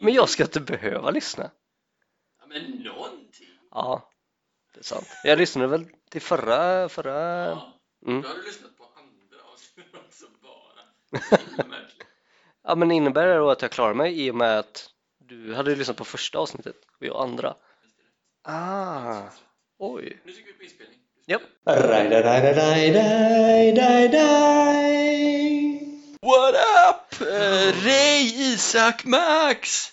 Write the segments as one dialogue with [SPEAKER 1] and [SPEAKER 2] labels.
[SPEAKER 1] Men jag ska inte behöva lyssna.
[SPEAKER 2] Ja, men någonting.
[SPEAKER 1] Ja, det är sant. Jag lyssnade väl till förra, förra...
[SPEAKER 2] Ja.
[SPEAKER 1] Mm.
[SPEAKER 2] Då har du lyssnat på andra avsnitt också bara. Märkligt.
[SPEAKER 1] Ja, men innebär det då att jag klarar mig i och med att du hade lyssnat på första avsnittet och jag andra? Ah, oj.
[SPEAKER 2] Nu tycker vi på inspelning.
[SPEAKER 1] Japp.
[SPEAKER 2] What up? Uh, Ray, Isak, Max!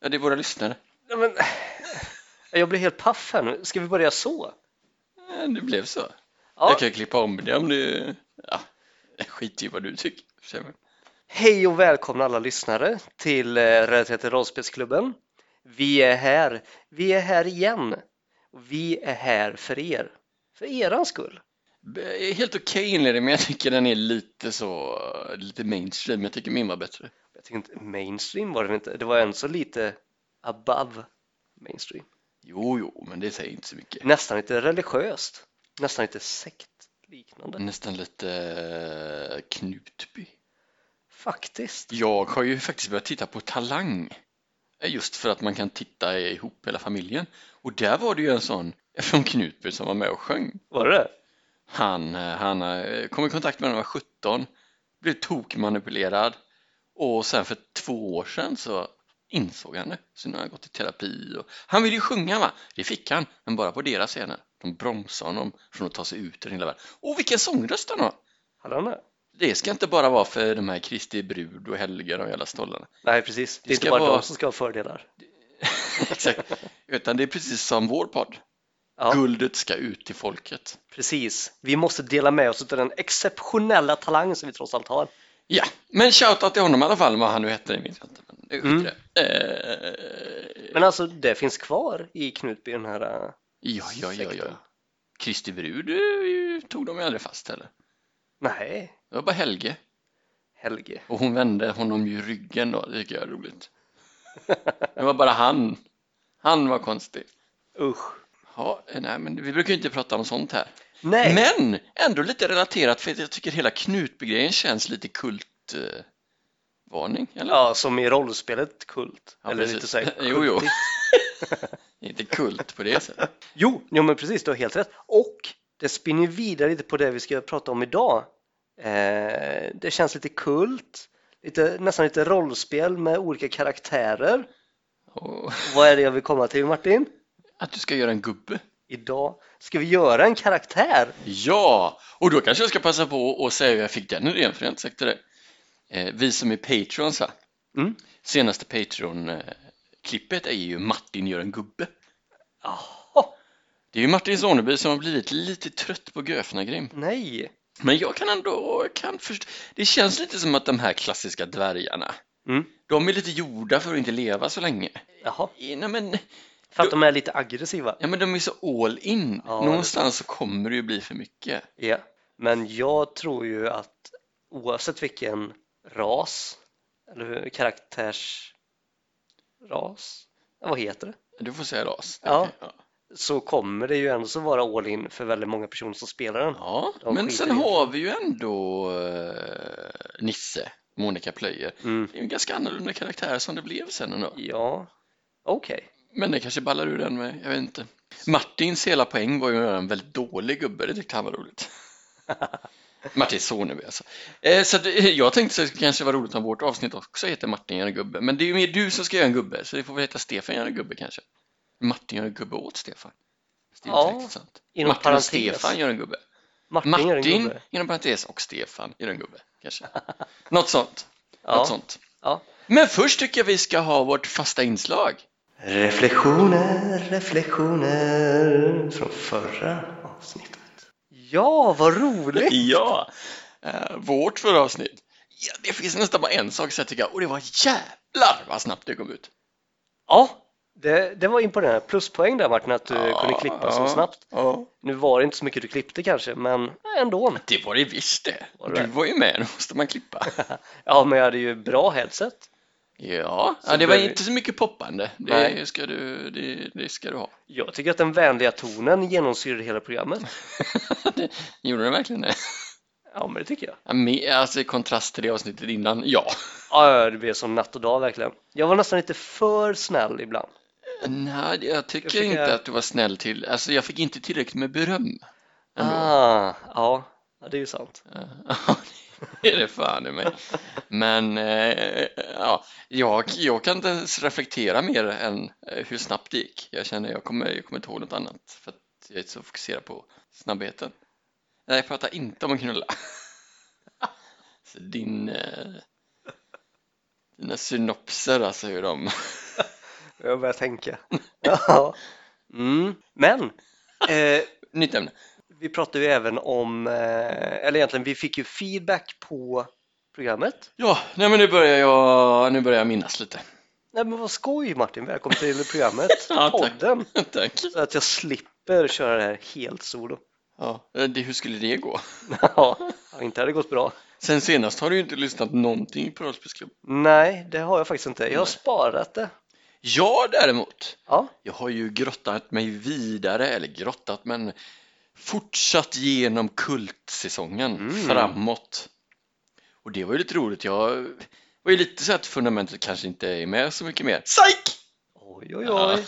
[SPEAKER 2] Ja, det är våra lyssnare.
[SPEAKER 1] Nej, men... Jag blir helt paff här nu. Ska vi börja så?
[SPEAKER 2] Ja, Eh, det blev så.
[SPEAKER 1] Ja.
[SPEAKER 2] Jag kan klippa om det om du... Ja, jag skiter i vad du tycker. säger man.
[SPEAKER 1] Hej och välkomna alla lyssnare till eh, Relaterat till rollspelsklubben. Vi är här. Vi är här igen. Och Vi är här för er. För eran skull.
[SPEAKER 2] B- Helt okej inledning, men jag tycker den är lite så... Lite mainstream. Jag tycker min var bättre.
[SPEAKER 1] Jag tycker inte mainstream var den inte. Det var än så lite above mainstream.
[SPEAKER 2] Jo, jo, men det säger inte så mycket.
[SPEAKER 1] Nästan lite religiöst. Nästan lite sektliknande.
[SPEAKER 2] Nästan lite eh, Knutby.
[SPEAKER 1] Faktiskt.
[SPEAKER 2] Jag har ju faktiskt börjat titta på Talang. Eh, Just för att man kan titta ihop hela familjen. Och där var det ju en sån från Knutby som var med och sjöng.
[SPEAKER 1] Var det
[SPEAKER 2] Han, eh, han eh, kom i kontakt med när han var 17, blev tokmanipulerad och sen för två år sedan så insåg han det. Så nu har han gått i terapi och han ville ju sjunga va? Det fick han, men bara på deras scener. De bromsade honom från att ta sig ut i den hela världen. Och vilken sångröst han har!
[SPEAKER 1] Hade han det?
[SPEAKER 2] Det ska inte bara vara för de här Kristi brud och helger och jävla stollarna.
[SPEAKER 1] Nej, precis. Det är
[SPEAKER 2] Det
[SPEAKER 1] inte
[SPEAKER 2] ska
[SPEAKER 1] bara
[SPEAKER 2] vara-
[SPEAKER 1] de som ska ha fördelar.
[SPEAKER 2] Exakt. Utan det är precis som vår podd.
[SPEAKER 1] Ja,
[SPEAKER 2] Guldet ska ut till folket.
[SPEAKER 1] precis. Vi måste dela med oss av den exceptionella talang som vi trots allt har.
[SPEAKER 2] Ja, men shoutout till honom i alla fall, vad han nu hette. Jag minns inte. Men det
[SPEAKER 1] Mm.
[SPEAKER 2] mm. eh,
[SPEAKER 1] Men alltså, det finns kvar i Knutby, den här... eh,
[SPEAKER 2] ja, ja, ja, ja.
[SPEAKER 1] sektorn.
[SPEAKER 2] Kristi brud eh, tog de ju aldrig fast heller.
[SPEAKER 1] Nej,
[SPEAKER 2] Det var bara Helge.
[SPEAKER 1] Helge.
[SPEAKER 2] Och hon vände honom ju ryggen då, det tycker jag är roligt. Det var bara han. Han var konstig.
[SPEAKER 1] Usch.
[SPEAKER 2] Ja, nej, men vi brukar ju inte prata om sånt här.
[SPEAKER 1] Nej,
[SPEAKER 2] Men ändå lite relaterat för att jag tycker hela Knutby-grejen känns lite kultvarning. Eh, varning, eller?
[SPEAKER 1] ja, som i rollspelet Kult.
[SPEAKER 2] Ja,
[SPEAKER 1] Eller
[SPEAKER 2] precis.
[SPEAKER 1] lite såhär
[SPEAKER 2] Jo, jo.
[SPEAKER 1] kultigt.
[SPEAKER 2] Inte kult på det sättet.
[SPEAKER 1] Jo, jo, men precis, du har helt rätt. Och det spinner ju vidare lite på det vi ska prata om idag. Eh, det känns lite kult, lite, nästan lite rollspel med olika karaktärer.
[SPEAKER 2] Och
[SPEAKER 1] Vad är det jag vill komma till Martin?
[SPEAKER 2] att du ska göra en gubbe.
[SPEAKER 1] Idag ska vi göra en karaktär.
[SPEAKER 2] Ja, och då kanske jag ska passa på och säga hur jag fick den idén, för jag har inte sagt till dig. Eh, vi som är Patrons, va?
[SPEAKER 1] Mm.
[SPEAKER 2] Senaste Patreon-klippet är ju Martin gör en gubbe.
[SPEAKER 1] Jaha,
[SPEAKER 2] Det är ju Martin Soneby som har blivit lite trött på Göfnagrim.
[SPEAKER 1] nej.
[SPEAKER 2] Men jag kan ändå, kan först... det känns lite som att de här klassiska dvärgarna,
[SPEAKER 1] Mm.
[SPEAKER 2] de är lite gjorda för att inte leva så länge.
[SPEAKER 1] Jaha,
[SPEAKER 2] I- Nej, men,
[SPEAKER 1] för att de är lite aggressiva.
[SPEAKER 2] ja, men de är så all in.
[SPEAKER 1] Ja,
[SPEAKER 2] Någonstans så kommer det ju bli för mycket.
[SPEAKER 1] Ja. Men jag tror ju att oavsett vilken ras eller karaktärsras, vad heter det?
[SPEAKER 2] Du får säga ras.
[SPEAKER 1] Ja.
[SPEAKER 2] ja.
[SPEAKER 1] så kommer det ju ändå så vara all in för väldigt många personer som spelar den.
[SPEAKER 2] Ja,
[SPEAKER 1] De
[SPEAKER 2] men
[SPEAKER 1] skiter
[SPEAKER 2] sen
[SPEAKER 1] i det.
[SPEAKER 2] har vi ju ändå eh, Nisse, Monica Plöjer.
[SPEAKER 1] Mm.
[SPEAKER 2] Det är ju en ganska annorlunda karaktär som det blev sen ändå.
[SPEAKER 1] Ja, okej.
[SPEAKER 2] Men det kanske ballar ur den med, jag vet inte. Martins hela poäng var ju att göra en väldigt dålig gubbe, det tyckte han var roligt. Martin Soneby alltså. Eh, så att, eh, jag tänkte att det kanske var roligt om vårt avsnitt också heter Martin gör en gubbe. Men det är ju mer du som ska göra en gubbe, så det får väl heta Stefan gör en gubbe kanske. Martin gör en gubbe åt Stefan. Det är
[SPEAKER 1] Ja,
[SPEAKER 2] inte riktigt sant.
[SPEAKER 1] inom
[SPEAKER 2] Martin och
[SPEAKER 1] parentes.
[SPEAKER 2] Stefan gör en gubbe.
[SPEAKER 1] Martin, gör en
[SPEAKER 2] Martin
[SPEAKER 1] gubbe.
[SPEAKER 2] inom parentes och Stefan i en gubbe kanske. Något sånt.
[SPEAKER 1] Ja.
[SPEAKER 2] Något sånt.
[SPEAKER 1] Ja.
[SPEAKER 2] Men först tycker jag vi ska ha vårt fasta inslag.
[SPEAKER 1] Reflektioner, reflektioner från förra avsnittet. Ja, vad roligt!
[SPEAKER 2] Ja, eh, vårt förra avsnitt. Ja, det finns nästan bara en sak som jag tycker, och det var jävlar vad snabbt det kom ut.
[SPEAKER 1] Ja, det, det var imponerande. Pluspoäng där Martin, att du
[SPEAKER 2] Ja,
[SPEAKER 1] kunde klippa så
[SPEAKER 2] ja,
[SPEAKER 1] snabbt.
[SPEAKER 2] Ja.
[SPEAKER 1] Nu var det inte så mycket du klippte kanske, men ändå.
[SPEAKER 2] Det var det visst det.
[SPEAKER 1] Var det?
[SPEAKER 2] Du var ju med, då måste man klippa.
[SPEAKER 1] Ja, men jag hade ju bra headset.
[SPEAKER 2] Ja,
[SPEAKER 1] Så
[SPEAKER 2] ja det var
[SPEAKER 1] blev det-
[SPEAKER 2] inte så mycket poppande.
[SPEAKER 1] Nej.
[SPEAKER 2] Det ska du, det, det ska du ha.
[SPEAKER 1] Jag tycker att den vänliga tonen genomsyrade hela programmet.
[SPEAKER 2] det, gjorde det verkligen det?
[SPEAKER 1] Ja, men det tycker jag.
[SPEAKER 2] Ja, Med, alltså i kontrast till det avsnittet innan, ja.
[SPEAKER 1] Ja, ja, det blir som natt och dag verkligen. Jag var nästan lite för snäll ibland.
[SPEAKER 2] Nej, jag tycker
[SPEAKER 1] Jag fick-
[SPEAKER 2] inte att du var snäll till, alltså jag fick inte tillräckligt med beröm. Ändå.
[SPEAKER 1] Ah, ja, ja, det är ju sant.
[SPEAKER 2] Ja, det är det fan i mig. Men eh, ja, jag, jag kan inte ens reflektera mer än eh, hur snabbt det gick. Jag känner jag kommer, jag kommer inte ihåg något annat för att jag är så fokuserad på snabbheten. Nej, jag pratar inte om att knulla. Så din, eh, dina synopser alltså hur de...
[SPEAKER 1] Jag börjar tänka. Ja. Mm. Men eh,
[SPEAKER 2] Nytt ämne.
[SPEAKER 1] vi pratade ju även om, eh, eller egentligen vi fick ju feedback på programmet.
[SPEAKER 2] Ja, nej men nu börjar jag, nu börjar jag minnas lite.
[SPEAKER 1] Nej men vad skoj Martin, välkommen till programmet,
[SPEAKER 2] Ja, tack.
[SPEAKER 1] podden.
[SPEAKER 2] Tack.
[SPEAKER 1] Så att jag slipper köra det här helt solo.
[SPEAKER 2] Ja, eh, det, hur skulle det gå?
[SPEAKER 1] Ja, inte hade det gått bra.
[SPEAKER 2] Sen senast har du ju inte lyssnat någonting på Rollspels Club.
[SPEAKER 1] Nej, det har jag faktiskt inte. Jag har
[SPEAKER 2] Nej.
[SPEAKER 1] sparat det.
[SPEAKER 2] Jag däremot,
[SPEAKER 1] Ja,
[SPEAKER 2] jag har ju grottat mig vidare, eller grottat men fortsatt genom kultsäsongen
[SPEAKER 1] Mm.
[SPEAKER 2] framåt. Och det var ju lite roligt, jag var ju lite så att fundamentet kanske inte är med så mycket mer. Psyk!
[SPEAKER 1] oj oj
[SPEAKER 2] Ja.
[SPEAKER 1] oj.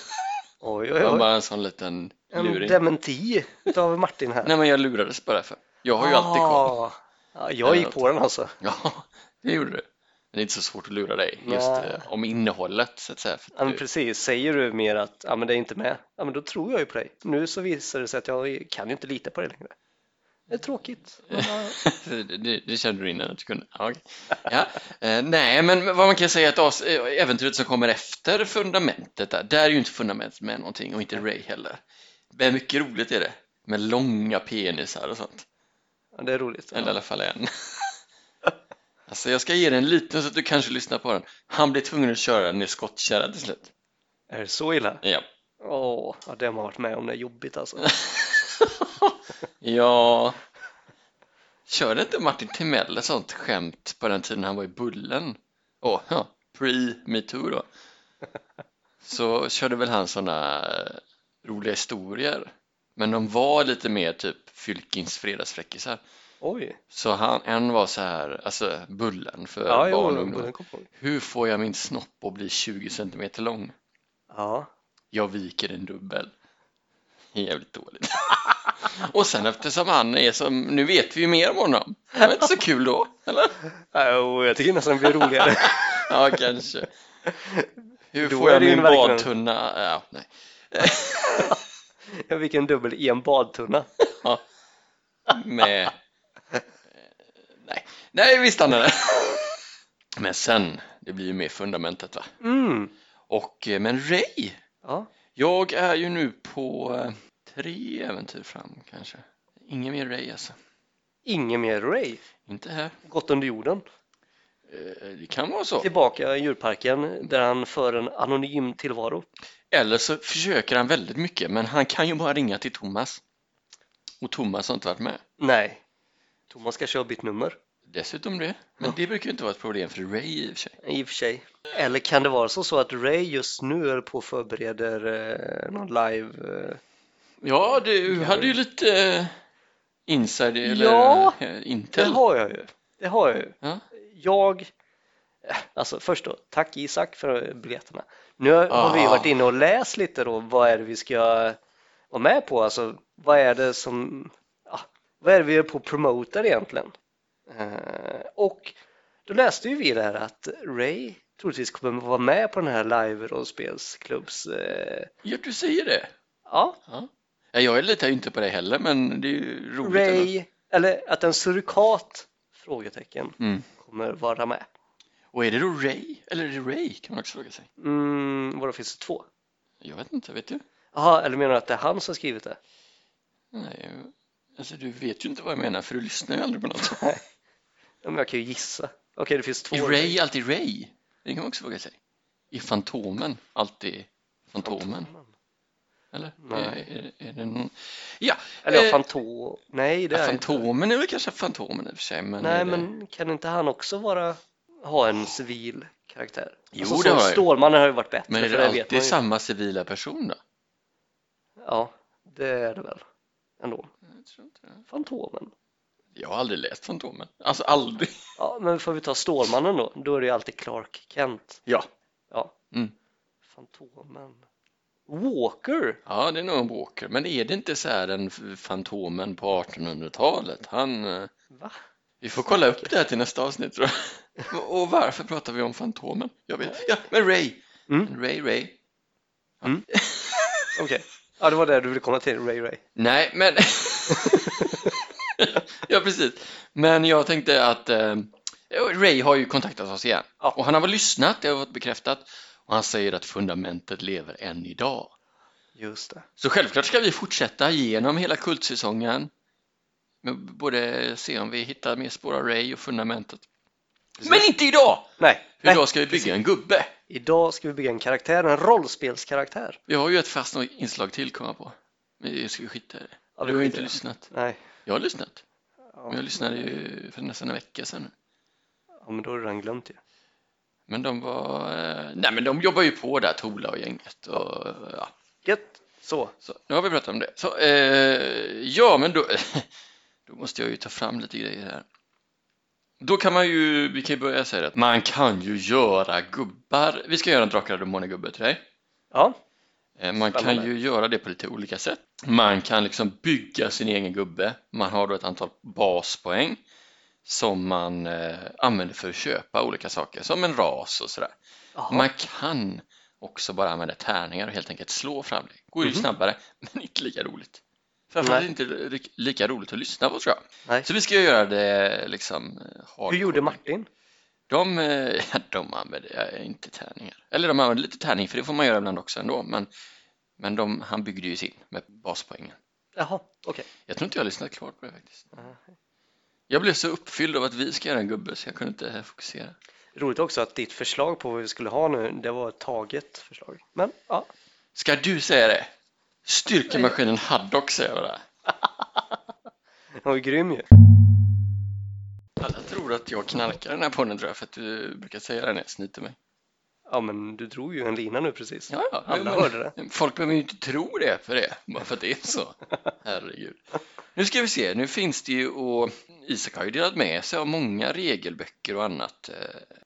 [SPEAKER 1] Oj
[SPEAKER 2] Det
[SPEAKER 1] oj
[SPEAKER 2] var
[SPEAKER 1] oj.
[SPEAKER 2] bara en sån liten
[SPEAKER 1] En
[SPEAKER 2] luring.
[SPEAKER 1] dementi utav Martin här.
[SPEAKER 2] Nej men jag lurades bara för. Jag har ju alltid Eh, koll.
[SPEAKER 1] Ah. Ja, jag gick på den alltså.
[SPEAKER 2] Ja, det gjorde du. Men det är inte så svårt att lura dig just
[SPEAKER 1] Nej.
[SPEAKER 2] eh, om innehållet så att säga. För
[SPEAKER 1] Ja,
[SPEAKER 2] att
[SPEAKER 1] men
[SPEAKER 2] du,
[SPEAKER 1] precis, säger du mer att ja, men det är inte med, ja, men då tror jag ju på dig. Nu så visar det sig att jag kan ju inte lita på dig längre. Det är tråkigt. Men, ja,
[SPEAKER 2] det, det- det kände du innan att du kunde? Ja, okej. ja. Eh, nej, men vad man kan säga är att as- eh, äventyret som kommer efter fundamentet där, där är ju inte fundamentet med någonting och inte Ray heller. Men mycket roligt är det med långa penisar och sånt.
[SPEAKER 1] ja, det är roligt.
[SPEAKER 2] Eller i
[SPEAKER 1] Ja.
[SPEAKER 2] alla fall en. Alltså jag ska ge dig en liten så att du kanske lyssnar på den. Han blir tvungen att köra den i skottkärra till slut.
[SPEAKER 1] Är det så illa?
[SPEAKER 2] Ja.
[SPEAKER 1] Åh, ja, det har man varit med om, det är jobbigt alltså.
[SPEAKER 2] ja. Körde inte Martin Timell ett sånt skämt på den tiden han var i Bullen? Åh, ja, pre-metoo då. Så körde väl han såna eh, roliga historier. Men de var lite mer typ Fylkings fredagsfräckisar.
[SPEAKER 1] Oj,
[SPEAKER 2] Så han, en var så här, alltså Bullen för
[SPEAKER 1] ja,
[SPEAKER 2] barn och
[SPEAKER 1] jo,
[SPEAKER 2] ungdomar.
[SPEAKER 1] den kom på.
[SPEAKER 2] Hur får jag min snopp att bli 20 centimeter lång?
[SPEAKER 1] Ja,
[SPEAKER 2] Jag viker en dubbel. Jävligt dåligt. Och sen eftersom han är som, nu vet vi ju mer om honom. Det var inte så kul då, eller?
[SPEAKER 1] Ja, jo, jag tycker nästan det blir roligare.
[SPEAKER 2] Ja, kanske. Hur
[SPEAKER 1] Då
[SPEAKER 2] får
[SPEAKER 1] är
[SPEAKER 2] jag
[SPEAKER 1] det ju
[SPEAKER 2] min
[SPEAKER 1] verkligen-
[SPEAKER 2] badtunna? Ja, nej.
[SPEAKER 1] Jag fick en dubbel i en badtunna.
[SPEAKER 2] Med... eh, Nej, nej vi stannar där. Men sen, det blir ju mer fundamentet va?
[SPEAKER 1] Mm.
[SPEAKER 2] Och, eh, men Ray,
[SPEAKER 1] Ja,
[SPEAKER 2] jag är ju nu på eh, tre äventyr fram kanske. Ingen mer Ray alltså.
[SPEAKER 1] ingen mer Ray.
[SPEAKER 2] Inte här.
[SPEAKER 1] Gått under jorden.
[SPEAKER 2] Eh, Det kan vara så.
[SPEAKER 1] Tillbaka i djurparken där han för en anonym tillvaro.
[SPEAKER 2] Eller så försöker han väldigt mycket, men han kan ju bara ringa till Thomas. Och Thomas har inte varit med.
[SPEAKER 1] Nej, Thomas kanske har bytt nummer.
[SPEAKER 2] Dessutom det. Men det brukar ju inte vara ett problem för Ray i och för sig.
[SPEAKER 1] I och för sig. Eller kan det vara så, så att Ray just nu är på och förbereder eh, någon live? Eh...
[SPEAKER 2] Ja, du hade ju lite eh, insider eller
[SPEAKER 1] Ja,
[SPEAKER 2] eh,
[SPEAKER 1] Det
[SPEAKER 2] intel.
[SPEAKER 1] har jag ju. Det har jag ju.
[SPEAKER 2] Ja.
[SPEAKER 1] Jag, eh, alltså först då, tack Isak för biljetterna. Nu har
[SPEAKER 2] Ah.
[SPEAKER 1] vi varit inne och läst lite då, vad är det vi ska vara med på? Alltså, vad är det som, ja, vad är det vi är på och promotar egentligen? Eh, och då läste ju vi där att Ray troligtvis kommer vara med på den här live-rollspelsklubbs, eh,
[SPEAKER 2] Ja, du säger det.
[SPEAKER 1] ja,
[SPEAKER 2] Ja, jag litar ju inte på det heller, men det är ju roligt ändå.
[SPEAKER 1] Ray, eller att en surikat? Frågetecken
[SPEAKER 2] Mm.
[SPEAKER 1] kommer vara med.
[SPEAKER 2] Och är det då Ray? Eller är det Ray? Kan man också fråga sig.
[SPEAKER 1] Mm, vadå finns det två?
[SPEAKER 2] Jag vet inte, vet du?
[SPEAKER 1] Jaha, eller menar du att det är han som skrivit det?
[SPEAKER 2] Nej, alltså du vet ju inte vad jag menar, för du lyssnar ju aldrig på något.
[SPEAKER 1] Ja, men jag kan ju gissa. Okej, det finns två.
[SPEAKER 2] Är Ray alltid Ray? Det kan man också fråga sig. Är Fantomen alltid Fantomen? Eller?
[SPEAKER 1] Nej.
[SPEAKER 2] Är, är, är det någon... Ja,
[SPEAKER 1] Eller ja,
[SPEAKER 2] eh,
[SPEAKER 1] Fantom. Nej, det
[SPEAKER 2] ja,
[SPEAKER 1] är inte.
[SPEAKER 2] Fantomen är väl kanske Fantomen i och för sig. Men är
[SPEAKER 1] Nej,
[SPEAKER 2] det...
[SPEAKER 1] men kan inte han också vara, ha en civil karaktär?
[SPEAKER 2] Jo, det
[SPEAKER 1] som
[SPEAKER 2] har jag ju.
[SPEAKER 1] Stålmannen har ju varit bättre.
[SPEAKER 2] men är
[SPEAKER 1] för
[SPEAKER 2] det
[SPEAKER 1] vet
[SPEAKER 2] alltid
[SPEAKER 1] man ju.
[SPEAKER 2] samma civila person då?
[SPEAKER 1] Ja, det är det väl. Ändå.
[SPEAKER 2] Jag tror inte det.
[SPEAKER 1] Fantomen.
[SPEAKER 2] Jag har aldrig läst Fantomen. Alltså aldrig.
[SPEAKER 1] Ja, men får vi ta Stålmannen då? Då är det ju alltid Clark Kent.
[SPEAKER 2] Ja.
[SPEAKER 1] Ja.
[SPEAKER 2] Mm.
[SPEAKER 1] Fantomen. Walker?
[SPEAKER 2] Ja, det är nog en Walker. Men är det inte så här den f- Fantomen på 1800-talet? Han... eh,
[SPEAKER 1] Va?
[SPEAKER 2] Vi får kolla upp det här till nästa avsnitt tror jag. Och och varför pratar vi om Fantomen? Jag vet. Ja, men Ray.
[SPEAKER 1] Mm.
[SPEAKER 2] Ray, Ray. Ja.
[SPEAKER 1] Mm. Okej. Ja, det var det du ville komma till, Ray Ray.
[SPEAKER 2] Nej, men... ja, precis. Men jag tänkte att eh, Ray har ju kontaktat oss igen.
[SPEAKER 1] Ja.
[SPEAKER 2] Och han har väl lyssnat, det har varit bekräftat. Och han säger att fundamentet lever än idag.
[SPEAKER 1] Just det.
[SPEAKER 2] Så självklart ska vi fortsätta genom hela kultsäsongen. Men b- både se om vi hittar mer spår av Ray och fundamentet. Men inte idag!
[SPEAKER 1] Nej,
[SPEAKER 2] För
[SPEAKER 1] nej.
[SPEAKER 2] idag ska vi bygga en gubbe.
[SPEAKER 1] Idag ska vi bygga en karaktär, en rollspelskaraktär.
[SPEAKER 2] Vi har ju ett fast inslag till komma på. Men det ska vi skita i det.
[SPEAKER 1] Ja,
[SPEAKER 2] du har
[SPEAKER 1] skiter
[SPEAKER 2] ju inte
[SPEAKER 1] jag.
[SPEAKER 2] lyssnat.
[SPEAKER 1] Nej.
[SPEAKER 2] Jag har lyssnat.
[SPEAKER 1] Ja,
[SPEAKER 2] Men jag lyssnade ju för nästan en vecka sedan.
[SPEAKER 1] Ja, men då har du redan glömt ju.
[SPEAKER 2] Men de var... eh, Nej men de jobbar ju på där, Tola och gänget. Och, eh, ja.
[SPEAKER 1] Gött. Så.
[SPEAKER 2] Så, nu har vi pratat om det. Så, eh, ja men då, då måste jag ju ta fram lite grejer här. Då kan man ju, vi kan ju börja säga det att man kan ju göra gubbar. Vi ska göra en Drakar och Demoner-gubbe till dig.
[SPEAKER 1] Ja,
[SPEAKER 2] Eh, Man kan
[SPEAKER 1] Spännande.
[SPEAKER 2] ju göra det på lite olika sätt. Man kan liksom bygga sin egen gubbe. Man har då ett antal baspoäng som man eh, använder för att köpa olika saker, som en ras och sådär.
[SPEAKER 1] Jaha.
[SPEAKER 2] Man kan också bara använda tärningar och helt enkelt slå fram det. Går ju
[SPEAKER 1] Mhm.
[SPEAKER 2] snabbare, men inte lika roligt. Framförallt
[SPEAKER 1] Nej.
[SPEAKER 2] inte li- lika roligt att lyssna på tror jag.
[SPEAKER 1] Nej.
[SPEAKER 2] Så vi ska göra det liksom eh, hardcore.
[SPEAKER 1] hur gjorde Martin?
[SPEAKER 2] De, eh, ja, de använder eh, inte tärningar. Eller de använder lite tärning, för det får man göra ibland också ändå. Men, men de, han byggde ju sin med baspoängen.
[SPEAKER 1] Jaha, okej.
[SPEAKER 2] Jag tror inte jag har lyssnat klart på det faktiskt.
[SPEAKER 1] Nej.
[SPEAKER 2] Jag blev så uppfylld av att vi ska göra en gubbe så jag kunde inte eh, fokusera.
[SPEAKER 1] Roligt också att ditt förslag på vad vi skulle ha nu, det var ett taget förslag. Men ja,
[SPEAKER 2] Ska du säga det? Styrkemaskinen Haddock säger jag bara.
[SPEAKER 1] den var ju grym ju.
[SPEAKER 2] Alla tror att jag knarkar den här podden tror jag, för att du brukar säga det när jag snyter mig.
[SPEAKER 1] Ja, men du drog ju en lina nu precis.
[SPEAKER 2] Ja, ja,
[SPEAKER 1] Alla
[SPEAKER 2] men-
[SPEAKER 1] hörde det.
[SPEAKER 2] Folk behöver ju inte tro det för det, bara för att det är så. Herregud. Nu ska vi se, nu finns det ju och Isak har ju delat med sig av många regelböcker och annat eh,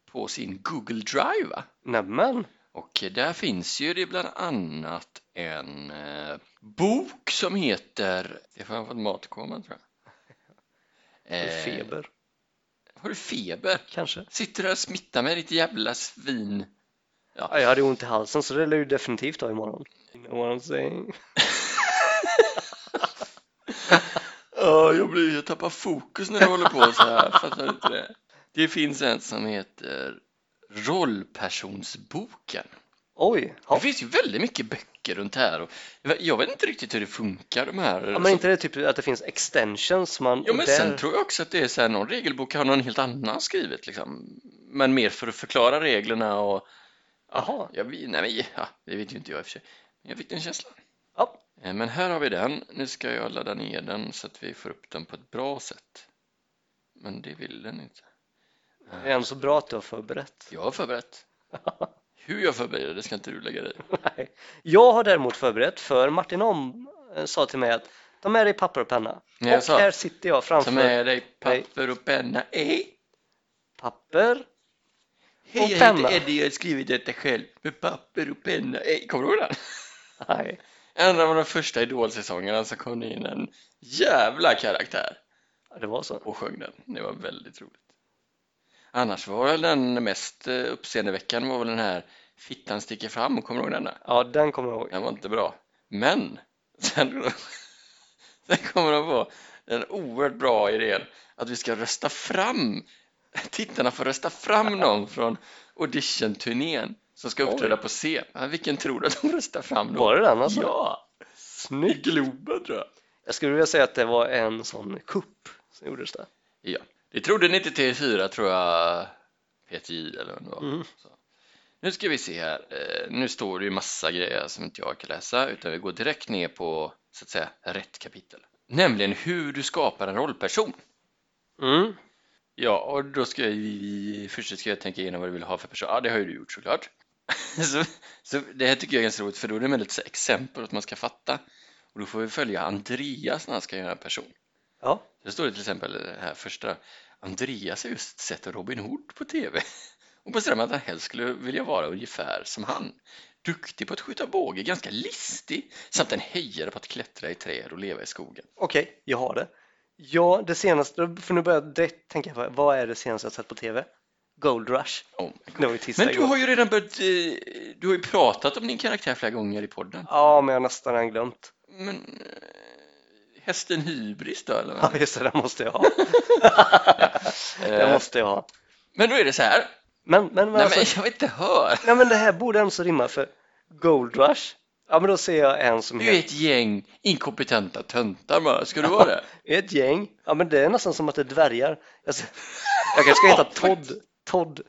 [SPEAKER 2] på sin Google Drive. Va?
[SPEAKER 1] Nämen,
[SPEAKER 2] Och där finns ju det bland annat en eh, bok som heter, det får jag fått matkomma tror jag. Eh,
[SPEAKER 1] feber
[SPEAKER 2] Har du feber?
[SPEAKER 1] kanske.
[SPEAKER 2] Sitter du och smittar mig ditt jävla svin?
[SPEAKER 1] Ja, jag hade ont i halsen så det lär ju definitivt ha imorgon. You know what I'm saying?
[SPEAKER 2] Ja, jag, blir, jag tappar fokus när jag håller på så här. Fattar du inte det? Det finns en som heter Rollpersonsboken.
[SPEAKER 1] Oj,
[SPEAKER 2] Det
[SPEAKER 1] ja.
[SPEAKER 2] finns ju väldigt mycket böcker runt här. Och jag vet- jag vet inte riktigt hur det funkar de här.
[SPEAKER 1] ja. Men inte det typ att det finns extensions man...
[SPEAKER 2] Jo, men
[SPEAKER 1] där-
[SPEAKER 2] sen tror jag också att det är så här, någon regelbok har någon helt annan skrivit liksom. Men mer för att förklara reglerna och...
[SPEAKER 1] Jaha.
[SPEAKER 2] Jag, vet- nej, men, ja, det vet ju inte jag i och för sig. Men Jag fick den känslan.
[SPEAKER 1] Ja.
[SPEAKER 2] Eh, Men här har vi den. Nu ska jag ladda ner den så att vi får upp den på ett bra sätt. Men det vill den inte.
[SPEAKER 1] Det är ändå så bra att du har förberett.
[SPEAKER 2] Jag har förberett. Hur jag förbereder det ska inte du lägga dig i.
[SPEAKER 1] Nej. Jag har däremot förberett för Martin Om eh, sa till mig att ta med dig papper och penna.
[SPEAKER 2] Nej, jag
[SPEAKER 1] och
[SPEAKER 2] sa-
[SPEAKER 1] här alltså- sitter jag framför
[SPEAKER 2] Ta med dig papper och penna. Eh, Hej!
[SPEAKER 1] papper.
[SPEAKER 2] Hej, jag
[SPEAKER 1] penna.
[SPEAKER 2] heter Eddie. Jag har skrivit detta själv med papper och penna. Hej! Kommer du ihåg den?
[SPEAKER 1] Nej.
[SPEAKER 2] En av de första idolsäsongerna så kom det in en jävla karaktär
[SPEAKER 1] Ja, Det var så.
[SPEAKER 2] och sjöng den. Det var väldigt roligt. Annars var väl den mest eh, uppseendeväckande var väl den här Fittan sticker fram, kommer du ihåg denna?
[SPEAKER 1] Ja, den kommer jag ihåg.
[SPEAKER 2] Den var inte bra. Men sen, sen kommer de på den oerhört bra idén att vi ska rösta fram tittarna får rösta fram någon från auditionturnén som ska uppträda på scen. Ja, Vilken tror du att de röstar fram då?
[SPEAKER 1] Var det den alltså?
[SPEAKER 2] Ja, i
[SPEAKER 1] Snyggt.
[SPEAKER 2] Globen tror jag.
[SPEAKER 1] Jag skulle vilja säga att det var en sån kupp som gjordes där.
[SPEAKER 2] Ja, det trodde 93-4 tror jag PTI eller vad det var.
[SPEAKER 1] Mm.
[SPEAKER 2] Så. Nu ska vi se här. Eh, Nu står det ju massa grejer som inte jag kan läsa utan vi går direkt ner på så att säga rätt kapitel. Nämligen hur du skapar en rollperson.
[SPEAKER 1] Mm.
[SPEAKER 2] Ja, och då ska vi först ska jag tänka igenom vad du vill ha för person. Ja, det har ju du gjort såklart. så, så det här tycker jag är ganska roligt för då är det med lite så här exempel att man ska fatta. Och då får vi följa Andreas när han ska göra en person.
[SPEAKER 1] Ja.
[SPEAKER 2] Det står det till exempel det här första. Andreas har just sett Robin Hood på tv och bestämde att han helst skulle vilja vara ungefär som han. Duktig på att skjuta båge, ganska listig samt en hejare på att klättra i träd och leva i skogen.
[SPEAKER 1] Okej, jag har det. Ja, det senaste, för nu börjar jag direkt tänka på vad är det senaste jag sett på TV? Gold Rush.
[SPEAKER 2] Oh my
[SPEAKER 1] Det
[SPEAKER 2] God.
[SPEAKER 1] var ju tisdag
[SPEAKER 2] Men du
[SPEAKER 1] igår.
[SPEAKER 2] har ju redan börjat, eh, du har ju pratat om din karaktär flera gånger i podden.
[SPEAKER 1] Ja, men jag har nästan redan glömt.
[SPEAKER 2] Men eh, hästen hybris då eller? vad?
[SPEAKER 1] Ja, just det, den måste jag ha. den
[SPEAKER 2] Eh,
[SPEAKER 1] måste jag ha.
[SPEAKER 2] Men då är det så här.
[SPEAKER 1] Men, men, men,
[SPEAKER 2] Nej,
[SPEAKER 1] alltså,
[SPEAKER 2] men jag vill inte höra.
[SPEAKER 1] nej, men det här borde ändå så rimma för Gold Rush. Ja, men då ser jag en som
[SPEAKER 2] Du är
[SPEAKER 1] heter
[SPEAKER 2] ett gäng inkompetenta töntar bara. Ska du vara det?
[SPEAKER 1] ett gäng. Ja, men det är nästan som att det är dvärgar. Jag, ser, jag kanske ska heta Todd. Todd.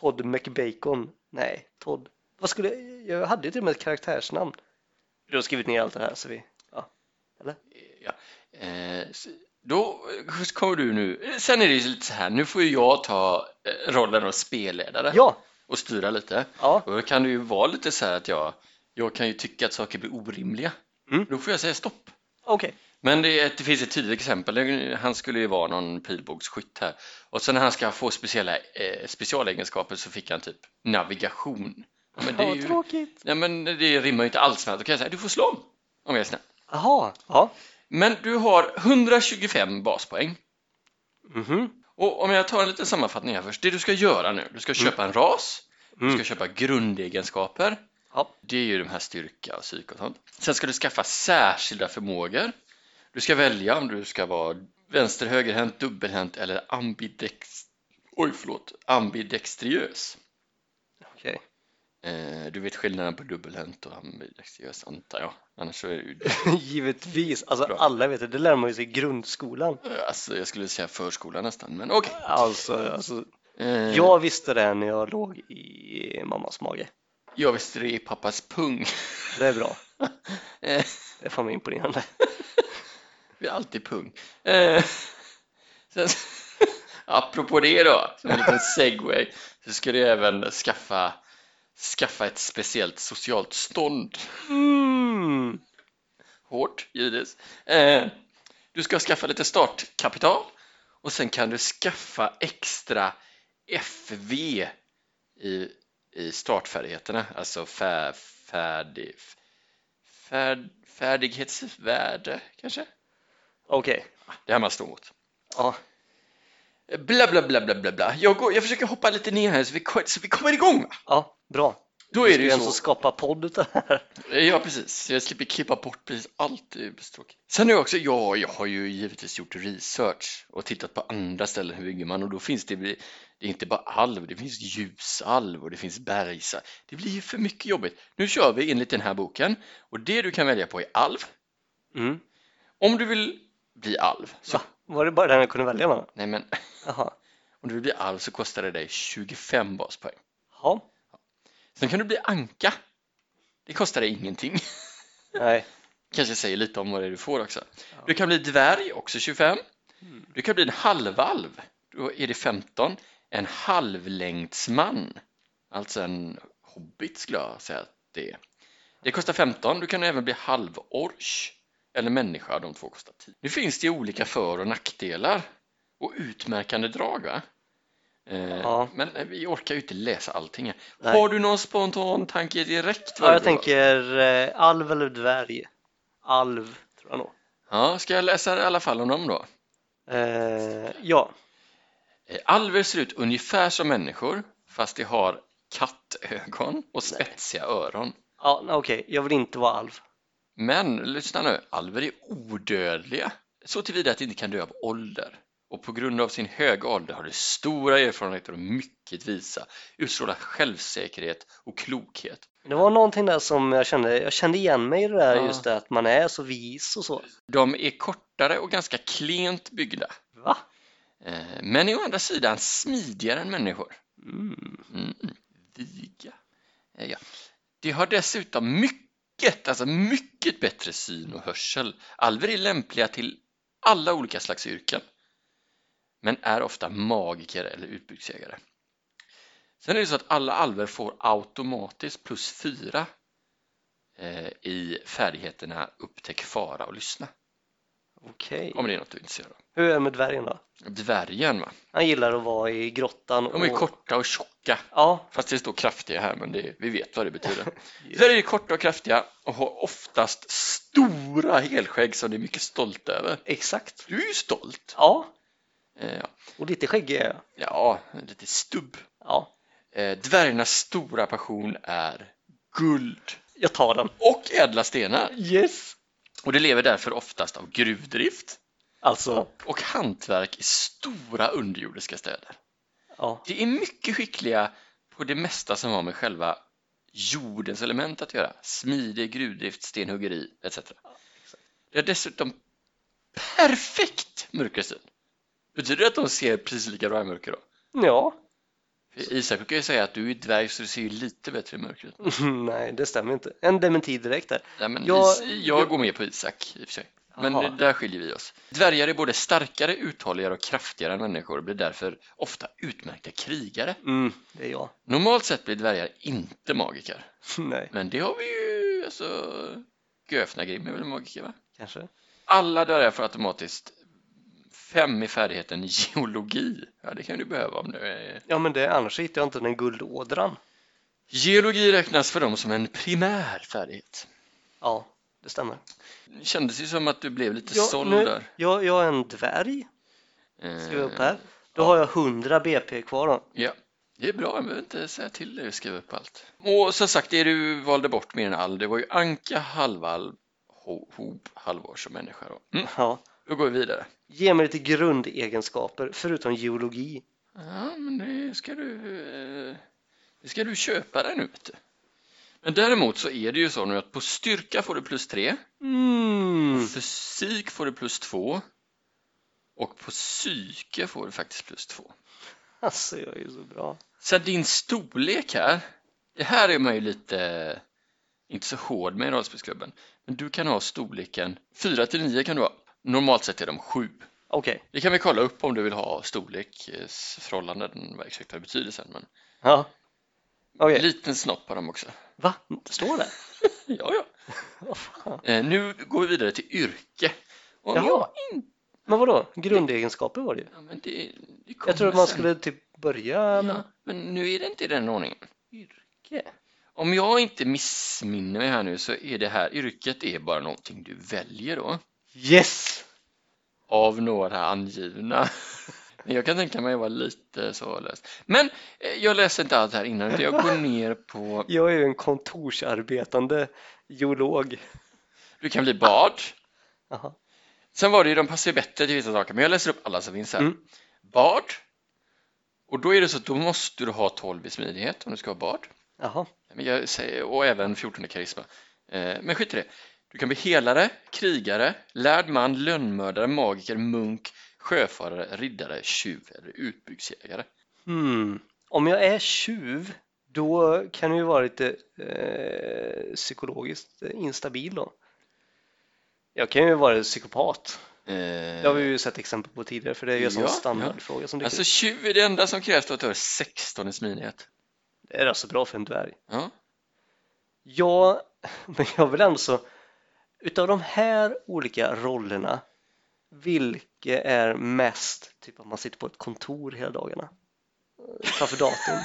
[SPEAKER 1] Todd McBacon. Nej, Todd. Vad skulle jag? hade ju till och med ett karaktärsnamn. Du har skrivit ner allt det här så vi.
[SPEAKER 2] Ja. Eh, s- Då kommer du nu. Eh, Sen är det ju lite så här. Nu får ju jag ta eh, rollen av spelledare
[SPEAKER 1] Ja,
[SPEAKER 2] och styra lite.
[SPEAKER 1] ja,
[SPEAKER 2] Och då kan det ju vara lite så här att jag, jag kan ju tycka att saker blir orimliga.
[SPEAKER 1] Mm.
[SPEAKER 2] Då får jag säga stopp.
[SPEAKER 1] okej.
[SPEAKER 2] Men det, är ett, det finns ett tydligt exempel. Han skulle ju vara någon pilbågsskytt här. Och sen när han ska få speciella eh, specialegenskaper så fick han typ navigation. Ja, Men det, är
[SPEAKER 1] Ja,
[SPEAKER 2] ju,
[SPEAKER 1] tråkigt.
[SPEAKER 2] nej, men det rimmar ju inte alls med att då kan jag säga du får slå om, om jag är snäll.
[SPEAKER 1] Jaha, ja.
[SPEAKER 2] Men du har 125 baspoäng.
[SPEAKER 1] Mhm.
[SPEAKER 2] Och om jag tar en liten sammanfattning här först. Det du ska göra nu, du ska köpa en ras, du
[SPEAKER 1] Mm.
[SPEAKER 2] ska köpa grundegenskaper.
[SPEAKER 1] Ja.
[SPEAKER 2] Det är ju de här styrka och psyk och sånt. Sen ska du skaffa särskilda förmågor. Du ska välja om du ska vara vänster, högerhänt, dubbelhänt eller ambidex... Oj, förlåt. ambidextriös.
[SPEAKER 1] Okej.
[SPEAKER 2] Eh, du vet skillnaden på dubbelhänt och ambidextriös antar jag. Annars så är det ju...
[SPEAKER 1] Givetvis, alltså
[SPEAKER 2] Bra.
[SPEAKER 1] alla vet det, det lär man ju sig i grundskolan.
[SPEAKER 2] Alltså, jag skulle säga förskola nästan, men okej.
[SPEAKER 1] Alltså, alltså
[SPEAKER 2] Eh,
[SPEAKER 1] jag visste det när jag låg i mammas mage.
[SPEAKER 2] Jag visste det i pappas pung.
[SPEAKER 1] Det är bra,
[SPEAKER 2] Eh,
[SPEAKER 1] det är fan mig imponerande.
[SPEAKER 2] Vi är alltid pung. Eh, sen, apropå det då, som en liten segway, så ska du även skaffa, skaffa ett speciellt socialt stånd.
[SPEAKER 1] Mm.
[SPEAKER 2] Hårt, givetvis. Eh, du ska skaffa lite startkapital och sen kan du skaffa extra FV i, i startfärdigheterna, alltså fär, färdig, fär, färdighetsvärde kanske?
[SPEAKER 1] Okej,
[SPEAKER 2] Det här man står mot.
[SPEAKER 1] ja,
[SPEAKER 2] Bla, bla, bla, bla, bla, bla. Jag, går, jag försöker hoppa lite ner här så vi, ko- så vi kommer igång. va?
[SPEAKER 1] ja, bra.
[SPEAKER 2] Då är det
[SPEAKER 1] ska alltså
[SPEAKER 2] ju
[SPEAKER 1] en som
[SPEAKER 2] så.
[SPEAKER 1] skapar podd utav det här.
[SPEAKER 2] Ja, precis. Jag slipper klippa bort precis allt. Det är så tråkigt. Sen är jag också, ja, jag har ju givetvis gjort research och tittat på andra ställen hur bygger man och då finns det, det är inte bara alv, det finns ljusalv och det finns bergsalv. Det blir ju för mycket jobbigt. Nu kör vi enligt den här boken och det du kan välja på är alv.
[SPEAKER 1] Mm.
[SPEAKER 2] Om du vill bli alv, så,
[SPEAKER 1] Va? Var det bara den jag kunde välja mellan?
[SPEAKER 2] nej men,
[SPEAKER 1] Jaha,
[SPEAKER 2] om du vill bli alv så kostar det dig 25 baspoäng.
[SPEAKER 1] ja,
[SPEAKER 2] Sen kan du bli anka. Det kostar dig ingenting.
[SPEAKER 1] nej,
[SPEAKER 2] Kanske säger lite om vad det är du får också.
[SPEAKER 1] Ja.
[SPEAKER 2] Du kan bli dvärg, också 25.
[SPEAKER 1] Mm.
[SPEAKER 2] Du kan bli en halvalv. Då är det 15. En halvlängdsman. Alltså en hobbit skulle jag säga att det är. Det kostar 15. Du kan även bli halvorch. Eller människa, de två kostar 10. Nu finns det ju olika för och nackdelar. Och utmärkande drag va? Eh,
[SPEAKER 1] Ja.
[SPEAKER 2] Men vi orkar ju inte läsa allting här.
[SPEAKER 1] nej.
[SPEAKER 2] Har du någon spontan tanke direkt? vad
[SPEAKER 1] Ja, jag
[SPEAKER 2] det vill vara?
[SPEAKER 1] tänker eh, alv eller dvärg. Alv, tror jag nog.
[SPEAKER 2] Ja, ska jag läsa i alla fall om dem då?
[SPEAKER 1] Eh, ja,
[SPEAKER 2] Eh, Alver ser ut ungefär som människor, fast de har kattögon och spetsiga öron.
[SPEAKER 1] ja okej, jag vill inte vara alv.
[SPEAKER 2] Men lyssna nu, alver är odödliga, så tillvida att de inte kan dö av ålder. Och på grund av sin höga ålder har de stora erfarenheter och mycket visa, utstrålar självsäkerhet och klokhet.
[SPEAKER 1] Det var någonting där som jag kände, jag kände igen mig i det där
[SPEAKER 2] Ja.
[SPEAKER 1] just det att man är så vis och så.
[SPEAKER 2] De är kortare och ganska klent byggda,
[SPEAKER 1] Va?
[SPEAKER 2] eh, men är å andra sidan smidigare än människor.
[SPEAKER 1] Mm.
[SPEAKER 2] Mm. Viga. Eh, Ja. De har dessutom mycket, alltså mycket bättre syn och hörsel. Alver är lämpliga till alla olika slags yrken, men är ofta magiker eller utbudsjägare. Sen är det så att alla alver får automatiskt plus fyra eh, i färdigheterna upptäck fara och lyssna.
[SPEAKER 1] Okej.
[SPEAKER 2] Om det är något du är intresserad av.
[SPEAKER 1] Hur är det med dvärgen då?
[SPEAKER 2] Dvärgen va?
[SPEAKER 1] Han gillar att vara i grottan
[SPEAKER 2] De är ju korta och tjocka.
[SPEAKER 1] Ja,
[SPEAKER 2] Fast det står kraftiga här, men det, vi vet vad det betyder. Dvärgar är korta och kraftiga och har oftast stora helskägg som de är mycket stolta över.
[SPEAKER 1] exakt.
[SPEAKER 2] Du är ju stolt!
[SPEAKER 1] Ja,
[SPEAKER 2] Eh, ja.
[SPEAKER 1] och lite skäggig är jag.
[SPEAKER 2] ja, lite stubb.
[SPEAKER 1] Ja,
[SPEAKER 2] Eh, dvärgarnas stora passion är guld
[SPEAKER 1] jag tar den.
[SPEAKER 2] och ädla stenar.
[SPEAKER 1] Yes!
[SPEAKER 2] Och de lever därför oftast av gruvdrift
[SPEAKER 1] Alltså,
[SPEAKER 2] och hantverk i stora underjordiska städer.
[SPEAKER 1] ja.
[SPEAKER 2] De är mycket skickliga på det mesta som har med själva jordens element att göra. Smide, gruvdrift, stenhuggeri etc. Det är dessutom perfekt mörkersyn. Betyder det att de ser precis lika bra i mörker då?
[SPEAKER 1] Ja.
[SPEAKER 2] För Isak brukar ju säga att du är ju dvärg så du ser ju lite bättre i mörkret.
[SPEAKER 1] Nej, det stämmer inte. En dementi direkt där.
[SPEAKER 2] Nej, men
[SPEAKER 1] Jag-
[SPEAKER 2] jag, jag går med på Isak i och för sig. Men
[SPEAKER 1] Jaha.
[SPEAKER 2] där skiljer vi oss. Dvärgar är både starkare, uthålligare och kraftigare än människor och blir därför ofta utmärkta krigare.
[SPEAKER 1] Mm, det är jag.
[SPEAKER 2] Normalt sett blir dvärgar inte magiker.
[SPEAKER 1] Nej,
[SPEAKER 2] Men det har vi ju, alltså, Göfnagrim är väl magiker va?
[SPEAKER 1] kanske.
[SPEAKER 2] Alla dörrar får automatiskt fem i färdigheten geologi. Ja, det kan du behöva om du är...
[SPEAKER 1] Ja, men det, annars hittar jag inte den guldådran.
[SPEAKER 2] Geologi räknas för dem som en primär färdighet.
[SPEAKER 1] Ja, det stämmer.
[SPEAKER 2] Det kändes ju som att du blev lite
[SPEAKER 1] Ja,
[SPEAKER 2] såld
[SPEAKER 1] nu-
[SPEAKER 2] där.
[SPEAKER 1] Jag, jag är en dvärg, skriver jag upp här. Då
[SPEAKER 2] Eh, ja.
[SPEAKER 1] har jag 100 BP kvar då.
[SPEAKER 2] Ja, det är bra. Jag behöver inte säga till dig att skriva upp allt. Och som sagt, det du valde bort mer än all, det var ju anka, halvalv, ho- hov, halvårs och människa. Då. Mm,
[SPEAKER 1] Ja.
[SPEAKER 2] då går vi vidare.
[SPEAKER 1] Ge mig lite grundegenskaper förutom geologi.
[SPEAKER 2] Ja, men det ska du, eh, det ska du köpa där nu. Vet du. Men däremot så är det ju så nu att på styrka får du plus 3,
[SPEAKER 1] Mm.
[SPEAKER 2] fysik får du plus 2 och på psyke får du faktiskt plus 2.
[SPEAKER 1] Alltså, jag är ju så bra.
[SPEAKER 2] Sen din storlek här, det här är man ju lite, eh, inte så hård med i rollspelsklubben, men du kan ha storleken 4 till 9 kan du ha. Normalt sett är de 7.
[SPEAKER 1] Okej.
[SPEAKER 2] Det kan vi kolla upp om du vill ha storleksförhållanden, vad exakt vad det betyder sen. Men
[SPEAKER 1] Ja. Okej.
[SPEAKER 2] Liten snopp har de också.
[SPEAKER 1] Va? Står det?
[SPEAKER 2] Ja, ja.
[SPEAKER 1] Vad fan?
[SPEAKER 2] Eh, nu går vi vidare till yrke. Om
[SPEAKER 1] Jaha.
[SPEAKER 2] jag inte...
[SPEAKER 1] Men vadå? Grundegenskaper var det ju.
[SPEAKER 2] Ja, men det, det kommer
[SPEAKER 1] Jag trodde man
[SPEAKER 2] sen.
[SPEAKER 1] skulle typ börja med...
[SPEAKER 2] Ja, men nu är det inte i den ordningen. Yrke. Om jag inte missminner mig här nu så är det här yrket är bara någonting du väljer då.
[SPEAKER 1] Yes!
[SPEAKER 2] Av några angivna. Men Jag kan tänka mig att vara lite så läst. Men eh, jag läser inte allt här innan utan jag går ner på...
[SPEAKER 1] Jag är ju en kontorsarbetande geolog.
[SPEAKER 2] Du kan bli bard.
[SPEAKER 1] Jaha.
[SPEAKER 2] Sen var det ju, de passar ju bättre till vissa saker, men jag läser upp alla som finns här.
[SPEAKER 1] Mm.
[SPEAKER 2] Bard. Och då är det så att då måste du ha 12 i smidighet om du ska ha bard.
[SPEAKER 1] Jaha.
[SPEAKER 2] Men jag säger, och även 14 i karisma. Eh, men skit i det. Du kan bli helare, krigare, lärd man, lönnmördare, magiker, munk, sjöfarare, riddare, tjuv eller utbugsjägare.
[SPEAKER 1] Hmm. Om jag är tjuv, då kan det ju vara lite eh, psykologiskt instabil då. Jag kan ju vara psykopat.
[SPEAKER 2] Eh,
[SPEAKER 1] Det har vi ju sett exempel på tidigare, för det är ju en sån
[SPEAKER 2] Ja,
[SPEAKER 1] standardfråga som dyker
[SPEAKER 2] Alltså
[SPEAKER 1] upp.
[SPEAKER 2] 20 är det enda som krävs för att du har 16 i smidighet.
[SPEAKER 1] Det är alltså bra för en dvärg.
[SPEAKER 2] Ja.
[SPEAKER 1] Ja, men jag vill ändå så, utav de här olika rollerna, vilka är mest typ att man sitter på ett kontor hela dagarna? Eh, Framför datorn?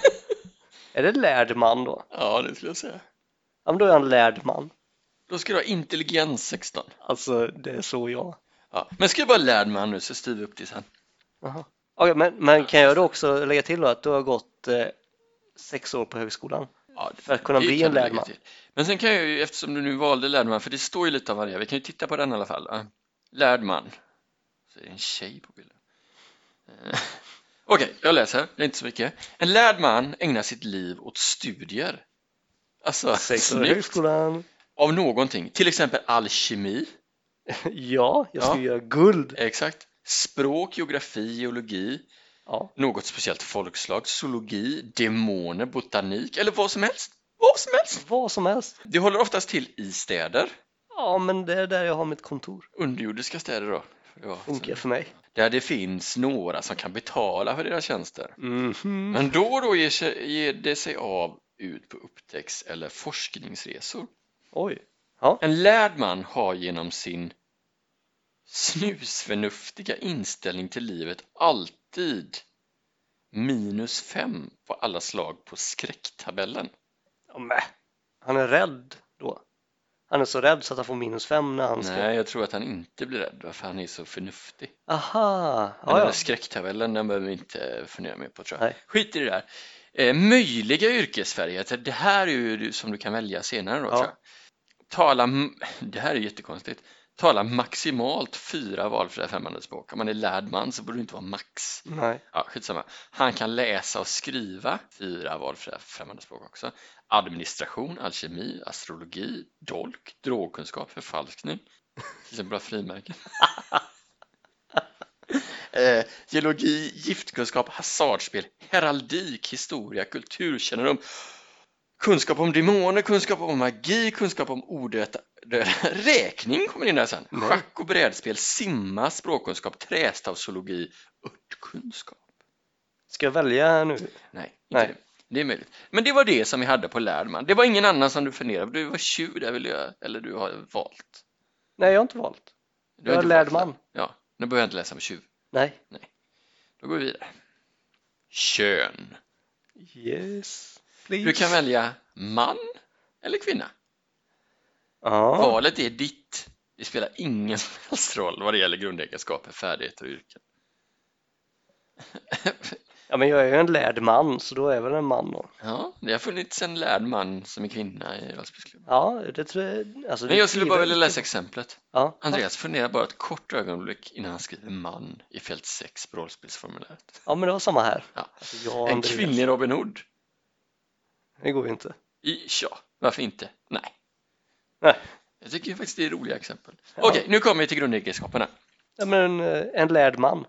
[SPEAKER 1] är det lärd man då?
[SPEAKER 2] ja, det skulle jag säga.
[SPEAKER 1] Ja, men då är han lärd man.
[SPEAKER 2] Då ska du ha intelligens 16.
[SPEAKER 1] Alltså, det är så jag.
[SPEAKER 2] Ja. Men ska du bara lärd man nu så styr vi upp det sen.
[SPEAKER 1] Jaha. Okej, men, men kan jag då också lägga till då att du har gått eh, sex år på högskolan?
[SPEAKER 2] Ja,
[SPEAKER 1] För att kunna
[SPEAKER 2] det
[SPEAKER 1] bli
[SPEAKER 2] kan
[SPEAKER 1] en
[SPEAKER 2] du lägga
[SPEAKER 1] lärdman.
[SPEAKER 2] till. Men sen kan jag ju, eftersom du nu valde lärdman, för det står ju lite av varje, vi kan ju titta på den i alla fall. va? Lärdman. Så är det en tjej på bilden. Eh, Okej, jag läser, det är inte så mycket. En lärd man ägnar sitt liv åt studier. Alltså,
[SPEAKER 1] Sex år i
[SPEAKER 2] snyggt.
[SPEAKER 1] högskolan?
[SPEAKER 2] Av någonting, till exempel alkemi,
[SPEAKER 1] ja, jag ska
[SPEAKER 2] Ja.
[SPEAKER 1] ju göra guld.
[SPEAKER 2] exakt. Språk, geografi, geologi,
[SPEAKER 1] Ja.
[SPEAKER 2] något speciellt folkslag, zoologi, demoner, botanik eller vad som helst. Vad som helst!
[SPEAKER 1] Vad som helst.
[SPEAKER 2] Det håller oftast till i städer,
[SPEAKER 1] Ja, men det är där jag har mitt kontor.
[SPEAKER 2] underjordiska städer då. för det var-
[SPEAKER 1] Funkar för mig.
[SPEAKER 2] Där det finns några som kan betala för deras tjänster.
[SPEAKER 1] Mhm.
[SPEAKER 2] Men då och då ger, sig, ger det sig av ut på upptäcks eller forskningsresor.
[SPEAKER 1] Oj.
[SPEAKER 2] En lärd man har genom sin Snusförnuftiga inställning till livet alltid. Minus fem på alla slag på skräcktabellen.
[SPEAKER 1] Ja, men, han är rädd då. Han är så rädd så att han får minus fem när han ska...
[SPEAKER 2] Nej, jag tror att han inte blir rädd va, för han är så förnuftig.
[SPEAKER 1] Aha!
[SPEAKER 2] Den
[SPEAKER 1] Ja,
[SPEAKER 2] där
[SPEAKER 1] ja.
[SPEAKER 2] skräcktabellen den behöver vi inte fundera mer på tror jag.
[SPEAKER 1] Nej.
[SPEAKER 2] Skit i det där. Eh, möjliga yrkesfärdigheter, det här är ju du- som du kan välja senare då
[SPEAKER 1] Ja.
[SPEAKER 2] tror jag. Tala, m- det här är jättekonstigt. Tala maximalt fyra valfria främmande språk. Om man är lärd man så borde det inte vara max.
[SPEAKER 1] Nej.
[SPEAKER 2] Ja, skitsamma. Han kan läsa och skriva fyra valfria främmande språk också. Administration, alkemi, astrologi, dolk, drogkunskap, förfalskning, till exempel frimärken. eh, geologi, giftkunskap, hasardspel, heraldik, historia, kulturkännedom, kunskap om demoner, kunskap om magi, kunskap om odöda, döda- räkning kommer in där sen,
[SPEAKER 1] Nej.
[SPEAKER 2] schack och brädspel, simma, språkkunskap, trästavsologi, örtkunskap.
[SPEAKER 1] Ska jag välja nu?
[SPEAKER 2] Nej, inte
[SPEAKER 1] Nej.
[SPEAKER 2] Det. det är möjligt. Men det var det som vi hade på Lärdman. Det var ingen annan som du funderade på. Du var tjuv där vill jag, eller du har valt.
[SPEAKER 1] Nej, jag har inte valt.
[SPEAKER 2] Du
[SPEAKER 1] Jag är
[SPEAKER 2] inte
[SPEAKER 1] lärd
[SPEAKER 2] valt.
[SPEAKER 1] man.
[SPEAKER 2] Ja, nu behöver jag inte läsa om tjuv.
[SPEAKER 1] Nej.
[SPEAKER 2] Då går vi vidare. Kön.
[SPEAKER 1] Yes. Please.
[SPEAKER 2] Du kan välja man eller kvinna.
[SPEAKER 1] Ja.
[SPEAKER 2] Valet är ditt. Det spelar ingen som helst roll vad det gäller grundegenskaper, färdigheter och yrken.
[SPEAKER 1] ja, men jag är ju en lärd man så då är jag väl en man då.
[SPEAKER 2] Ja, det har funnits en lärd man som är kvinna i Raspbergsklubben.
[SPEAKER 1] Ja, det tror jag. Alltså,
[SPEAKER 2] Men
[SPEAKER 1] det
[SPEAKER 2] jag skulle bara
[SPEAKER 1] tvivel-
[SPEAKER 2] vilja läsa exemplet.
[SPEAKER 1] Ja.
[SPEAKER 2] Andreas funderar bara ett kort ögonblick innan han skriver man i fält 6 på rollspelsformuläret.
[SPEAKER 1] ja, men det var samma här.
[SPEAKER 2] Ja.
[SPEAKER 1] Alltså, jag och
[SPEAKER 2] En
[SPEAKER 1] Andreas.
[SPEAKER 2] kvinnlig Robin Hood?
[SPEAKER 1] Det går ju inte.
[SPEAKER 2] I, ja, varför inte? Nej.
[SPEAKER 1] Nej.
[SPEAKER 2] Jag tycker faktiskt det är roliga exempel.
[SPEAKER 1] Ja.
[SPEAKER 2] Okej, nu kommer vi till grundegenskaperna.
[SPEAKER 1] Ja, men en, eh, en lärd man.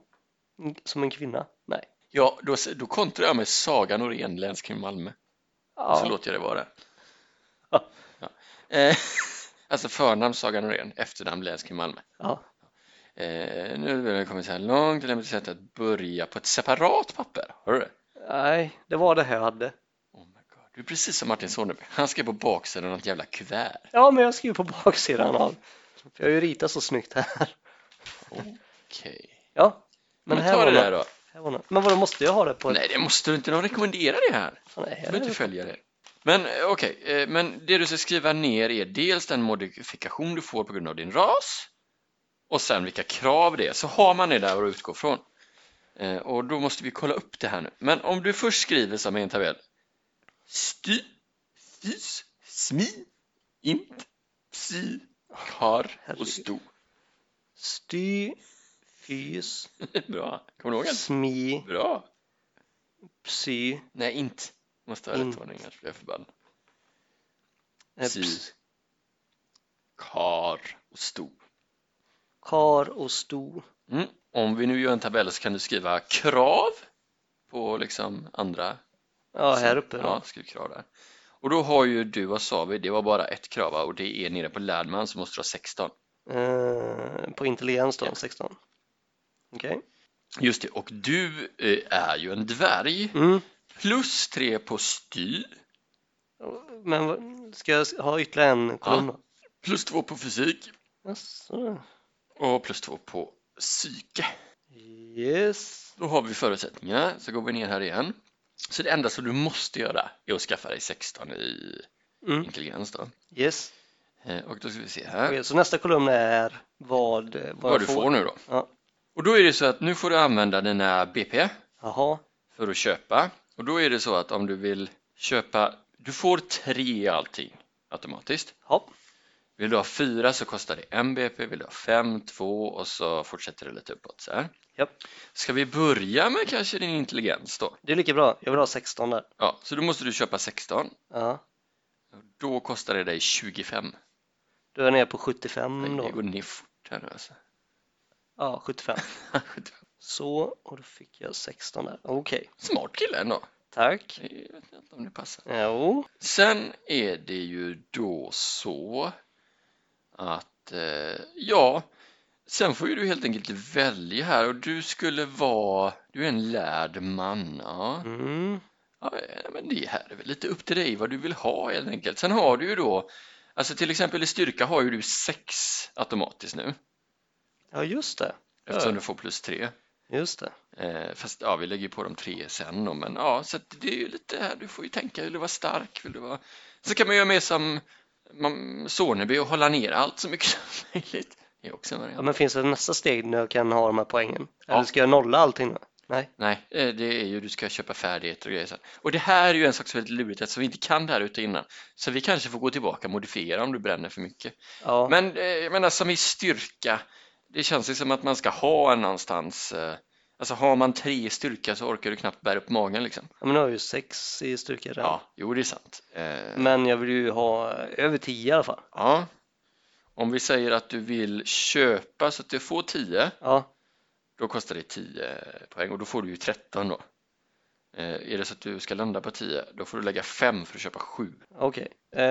[SPEAKER 1] Mm, Som en kvinna. Nej.
[SPEAKER 2] Ja, då, s- då kontrar jag med Saga Norén, länskrim Malmö.
[SPEAKER 1] Ja.
[SPEAKER 2] Så låter jag det vara.
[SPEAKER 1] Ja.
[SPEAKER 2] Ja. Eh, alltså förnamn Saga Norén, efternamn länskrim Malmö.
[SPEAKER 1] Ja.
[SPEAKER 2] Eh, nu har vi kommit så här långt, det är ett sätt att börja på ett separat papper. Hör du det?
[SPEAKER 1] Nej, det var det här jag hade.
[SPEAKER 2] Oh my god. Du är precis som Martin Soneby. Han skrev på baksidan av något jävla kuvert.
[SPEAKER 1] Ja, men jag skriver på baksidan av. För jag har ju ritat så snyggt här.
[SPEAKER 2] Okej.
[SPEAKER 1] Ja, men,
[SPEAKER 2] Men,
[SPEAKER 1] här,
[SPEAKER 2] ta
[SPEAKER 1] var
[SPEAKER 2] det
[SPEAKER 1] det
[SPEAKER 2] där då.
[SPEAKER 1] här var något. Men vadå, måste jag ha det på ett...
[SPEAKER 2] Nej, det måste du inte. De rekommenderar det här.
[SPEAKER 1] Fan,
[SPEAKER 2] Du
[SPEAKER 1] är
[SPEAKER 2] behöver inte
[SPEAKER 1] det?
[SPEAKER 2] följa det. Men eh, okej, eh, men det du ska skriva ner är dels den modifikation du får på grund av din ras och sen vilka krav det är. Så har man det där att utgå från. Eh, Och då måste vi kolla upp det här nu. Men om du först skriver som i en tabell. Sty, fys, smi, int, psi, kar och
[SPEAKER 1] Herregud.
[SPEAKER 2] sto.
[SPEAKER 1] Sty, fys,
[SPEAKER 2] Bra, kommer du ihåg den?
[SPEAKER 1] smi,
[SPEAKER 2] Bra.
[SPEAKER 1] psy,
[SPEAKER 2] Nej, inte. Måste ha rätt
[SPEAKER 1] Int.
[SPEAKER 2] ordning annars blir jag förbannad.
[SPEAKER 1] eh,
[SPEAKER 2] Psy.
[SPEAKER 1] ps-
[SPEAKER 2] Kar och sto.
[SPEAKER 1] kar och sto.
[SPEAKER 2] Mm. Om vi nu gör en tabell så kan du skriva krav på liksom andra.
[SPEAKER 1] Ja, här uppe
[SPEAKER 2] Ja,
[SPEAKER 1] då.
[SPEAKER 2] skriv krav där. Och då har ju du och Savi, det var bara ett krav va? och det är nere på Lärdman så måste du ha 16.
[SPEAKER 1] Eh, På intelligens då,
[SPEAKER 2] Ja.
[SPEAKER 1] 16. Okej.
[SPEAKER 2] Just det, och du eh, är ju en dvärg.
[SPEAKER 1] Mm.
[SPEAKER 2] Plus tre på styr,
[SPEAKER 1] Men vad- ska jag ha ytterligare en kolumn då?
[SPEAKER 2] plus två på fysik
[SPEAKER 1] Jaså.
[SPEAKER 2] och plus två på psyke.
[SPEAKER 1] Yes.
[SPEAKER 2] Då har vi förutsättningarna, så går vi ner här igen. Så det enda som du måste göra är att skaffa dig 16 i
[SPEAKER 1] Mm.
[SPEAKER 2] intelligens då.
[SPEAKER 1] Yes.
[SPEAKER 2] Eh, Och då ska vi se här.
[SPEAKER 1] Okej, så nästa kolumn är vad, vad,
[SPEAKER 2] vad
[SPEAKER 1] jag
[SPEAKER 2] du får nu då.
[SPEAKER 1] Ja.
[SPEAKER 2] Och då är det så att nu får du använda dina BP
[SPEAKER 1] Jaha.
[SPEAKER 2] för att köpa. Och då är det så att om du vill köpa, du får tre i allting automatiskt.
[SPEAKER 1] Hopp.
[SPEAKER 2] Vill du ha fyra så kostar det en BP, vill du ha fem, två och så fortsätter det lite uppåt så här.
[SPEAKER 1] Japp.
[SPEAKER 2] Ska vi börja med kanske din intelligens då?
[SPEAKER 1] Det är lika bra. Jag vill ha 16 där.
[SPEAKER 2] Ja, så då måste du köpa 16.
[SPEAKER 1] Ja.
[SPEAKER 2] Då kostar det dig 25.
[SPEAKER 1] Då är jag nere på 75
[SPEAKER 2] Det
[SPEAKER 1] Mm, då.
[SPEAKER 2] går ner fort här nu alltså.
[SPEAKER 1] Ja, 75. Så, och då fick jag 16 där. Okej,
[SPEAKER 2] Smart kille ändå.
[SPEAKER 1] tack.
[SPEAKER 2] Jag vet inte om det passar.
[SPEAKER 1] Jo,
[SPEAKER 2] Sen är det ju då så att eh, ja, sen får ju du helt enkelt välja här och du skulle vara, du är en lärd man. Ja.
[SPEAKER 1] mm.
[SPEAKER 2] Ja, men det här är väl lite upp till dig vad du vill ha helt enkelt. Sen har du ju då, alltså till exempel i styrka har ju du sex automatiskt nu.
[SPEAKER 1] Ja, just det.
[SPEAKER 2] eftersom
[SPEAKER 1] Ja.
[SPEAKER 2] du får plus tre.
[SPEAKER 1] Just det.
[SPEAKER 2] Eh, fast ja, vi lägger på dem tre sen då, men ja, så att det är ju lite här, du får ju tänka, vill du vara stark? Vill du vara... Så kan man göra mer som man, Soneby och hålla ner allt så mycket som möjligt. Det är också en
[SPEAKER 1] Ja,
[SPEAKER 2] variant.
[SPEAKER 1] men finns det nästa steg när jag kan ha de här poängen?
[SPEAKER 2] Ja.
[SPEAKER 1] Eller ska jag nolla allting då? Nej.
[SPEAKER 2] Nej, eh, det är ju, du ska köpa färdigheter och grejer sen. Och det här är ju en sak som är lite lurigt eftersom vi inte kan det här ute innan. Så vi kanske får gå tillbaka och modifiera om du bränner för mycket.
[SPEAKER 1] Ja,
[SPEAKER 2] Men eh, jag menar som i styrka, det känns ju som att man ska ha en någonstans. Eh, alltså har man tre i styrka så orkar du knappt bära upp magen liksom.
[SPEAKER 1] Ja, men nu har jag ju sex i styrka redan.
[SPEAKER 2] Ja, jo det är sant. Eh,
[SPEAKER 1] Men jag vill ju ha över 10 i alla fall.
[SPEAKER 2] ja. Om vi säger att du vill köpa så att du får 10,
[SPEAKER 1] Ja,
[SPEAKER 2] då kostar det 10 poäng och då får du ju 13 då. Eh, är det så att du ska landa på 10, då får du lägga 5 för att köpa 7.
[SPEAKER 1] okej. Eh,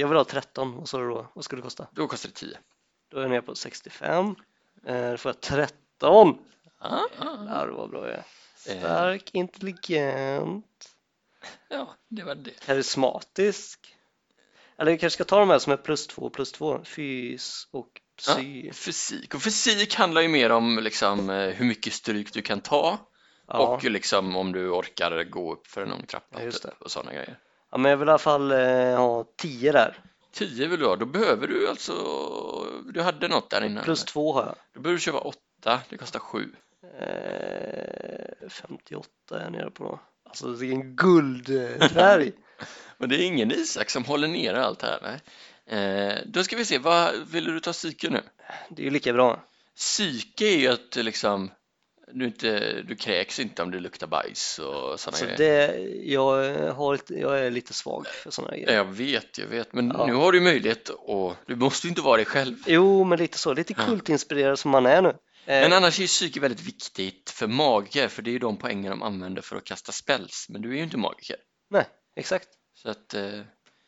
[SPEAKER 1] jag vill ha 13 och så då, vad skulle det kosta?
[SPEAKER 2] Då kostar det 10.
[SPEAKER 1] Då är jag nere på 65. Eh, då får jag 13.
[SPEAKER 2] Ah, ah,
[SPEAKER 1] Där vad bra jag är.
[SPEAKER 2] Eh,
[SPEAKER 1] Stark, intelligent,
[SPEAKER 2] ja, det var det.
[SPEAKER 1] karismatisk. Eller jag kanske ska ta de här som är plus 2 plus 2. Fys och psy.
[SPEAKER 2] Fysik, och fysik handlar ju mer om liksom, eh, hur mycket stryk du kan ta
[SPEAKER 1] Ja.
[SPEAKER 2] och ju liksom om du orkar gå upp för en lång trappa
[SPEAKER 1] Ja, just
[SPEAKER 2] typ, och sådana grejer.
[SPEAKER 1] ja, men jag vill i alla fall eh, ha 10 där.
[SPEAKER 2] 10 vill du ha, då behöver du alltså, du hade något där innan.
[SPEAKER 1] Plus 2 har jag.
[SPEAKER 2] Då behöver du köpa 8, det kostar 7.
[SPEAKER 1] Eh, 58 är jag nere på då. Alltså vilken guldfärg!
[SPEAKER 2] Men det är ingen Isak som håller nere allt det här. Nej. Eh, då ska vi se, vad vill du ta psyke nu?
[SPEAKER 1] Det är ju lika bra.
[SPEAKER 2] Psyke är ju att liksom, du, inte, du kräks inte om det luktar bajs och sådana
[SPEAKER 1] Så
[SPEAKER 2] grejer.
[SPEAKER 1] Alltså, det, jag, har, ett- jag är lite svag för sådana grejer.
[SPEAKER 2] Ja, Jag vet, jag vet, men
[SPEAKER 1] Ja.
[SPEAKER 2] nu har du möjlighet och du måste ju inte vara dig själv.
[SPEAKER 1] Jo, men lite så. Lite
[SPEAKER 2] Ja.
[SPEAKER 1] kultinspirerad som man är nu. Eh,
[SPEAKER 2] Men annars är ju psyke väldigt viktigt för magiker, för det är ju de poängen de använder för att kasta spells, men du är ju inte magiker.
[SPEAKER 1] Nej, exakt.
[SPEAKER 2] Så att, eh,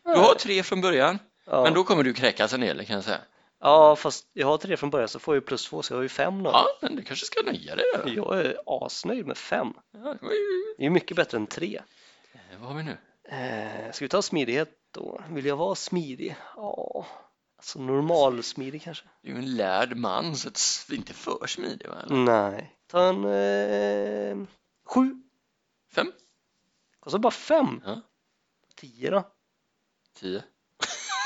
[SPEAKER 2] du har tre från början,
[SPEAKER 1] ja.
[SPEAKER 2] men då kommer du kräkas en hel del, kan jag säga.
[SPEAKER 1] ja, fast jag har tre från början så får jag ju plus två så jag har ju fem då.
[SPEAKER 2] Ja, men du kanske ska nöja dig då.
[SPEAKER 1] Jag är asnöjd med fem.
[SPEAKER 2] Ja, det var ju-
[SPEAKER 1] Det är ju mycket bättre än tre.
[SPEAKER 2] Eh, Vad har vi nu?
[SPEAKER 1] Eh, ska vi ta smidighet då? Vill jag vara smidig? Ja, alltså normalsmidig kanske?
[SPEAKER 2] Du är ju en lärd man, så att s- inte för smidig va? Eller?
[SPEAKER 1] Mm. Nej. Ta en eh, sju.
[SPEAKER 2] Fem?
[SPEAKER 1] Kostar bara fem.
[SPEAKER 2] Ja.
[SPEAKER 1] Tio då?
[SPEAKER 2] Tio?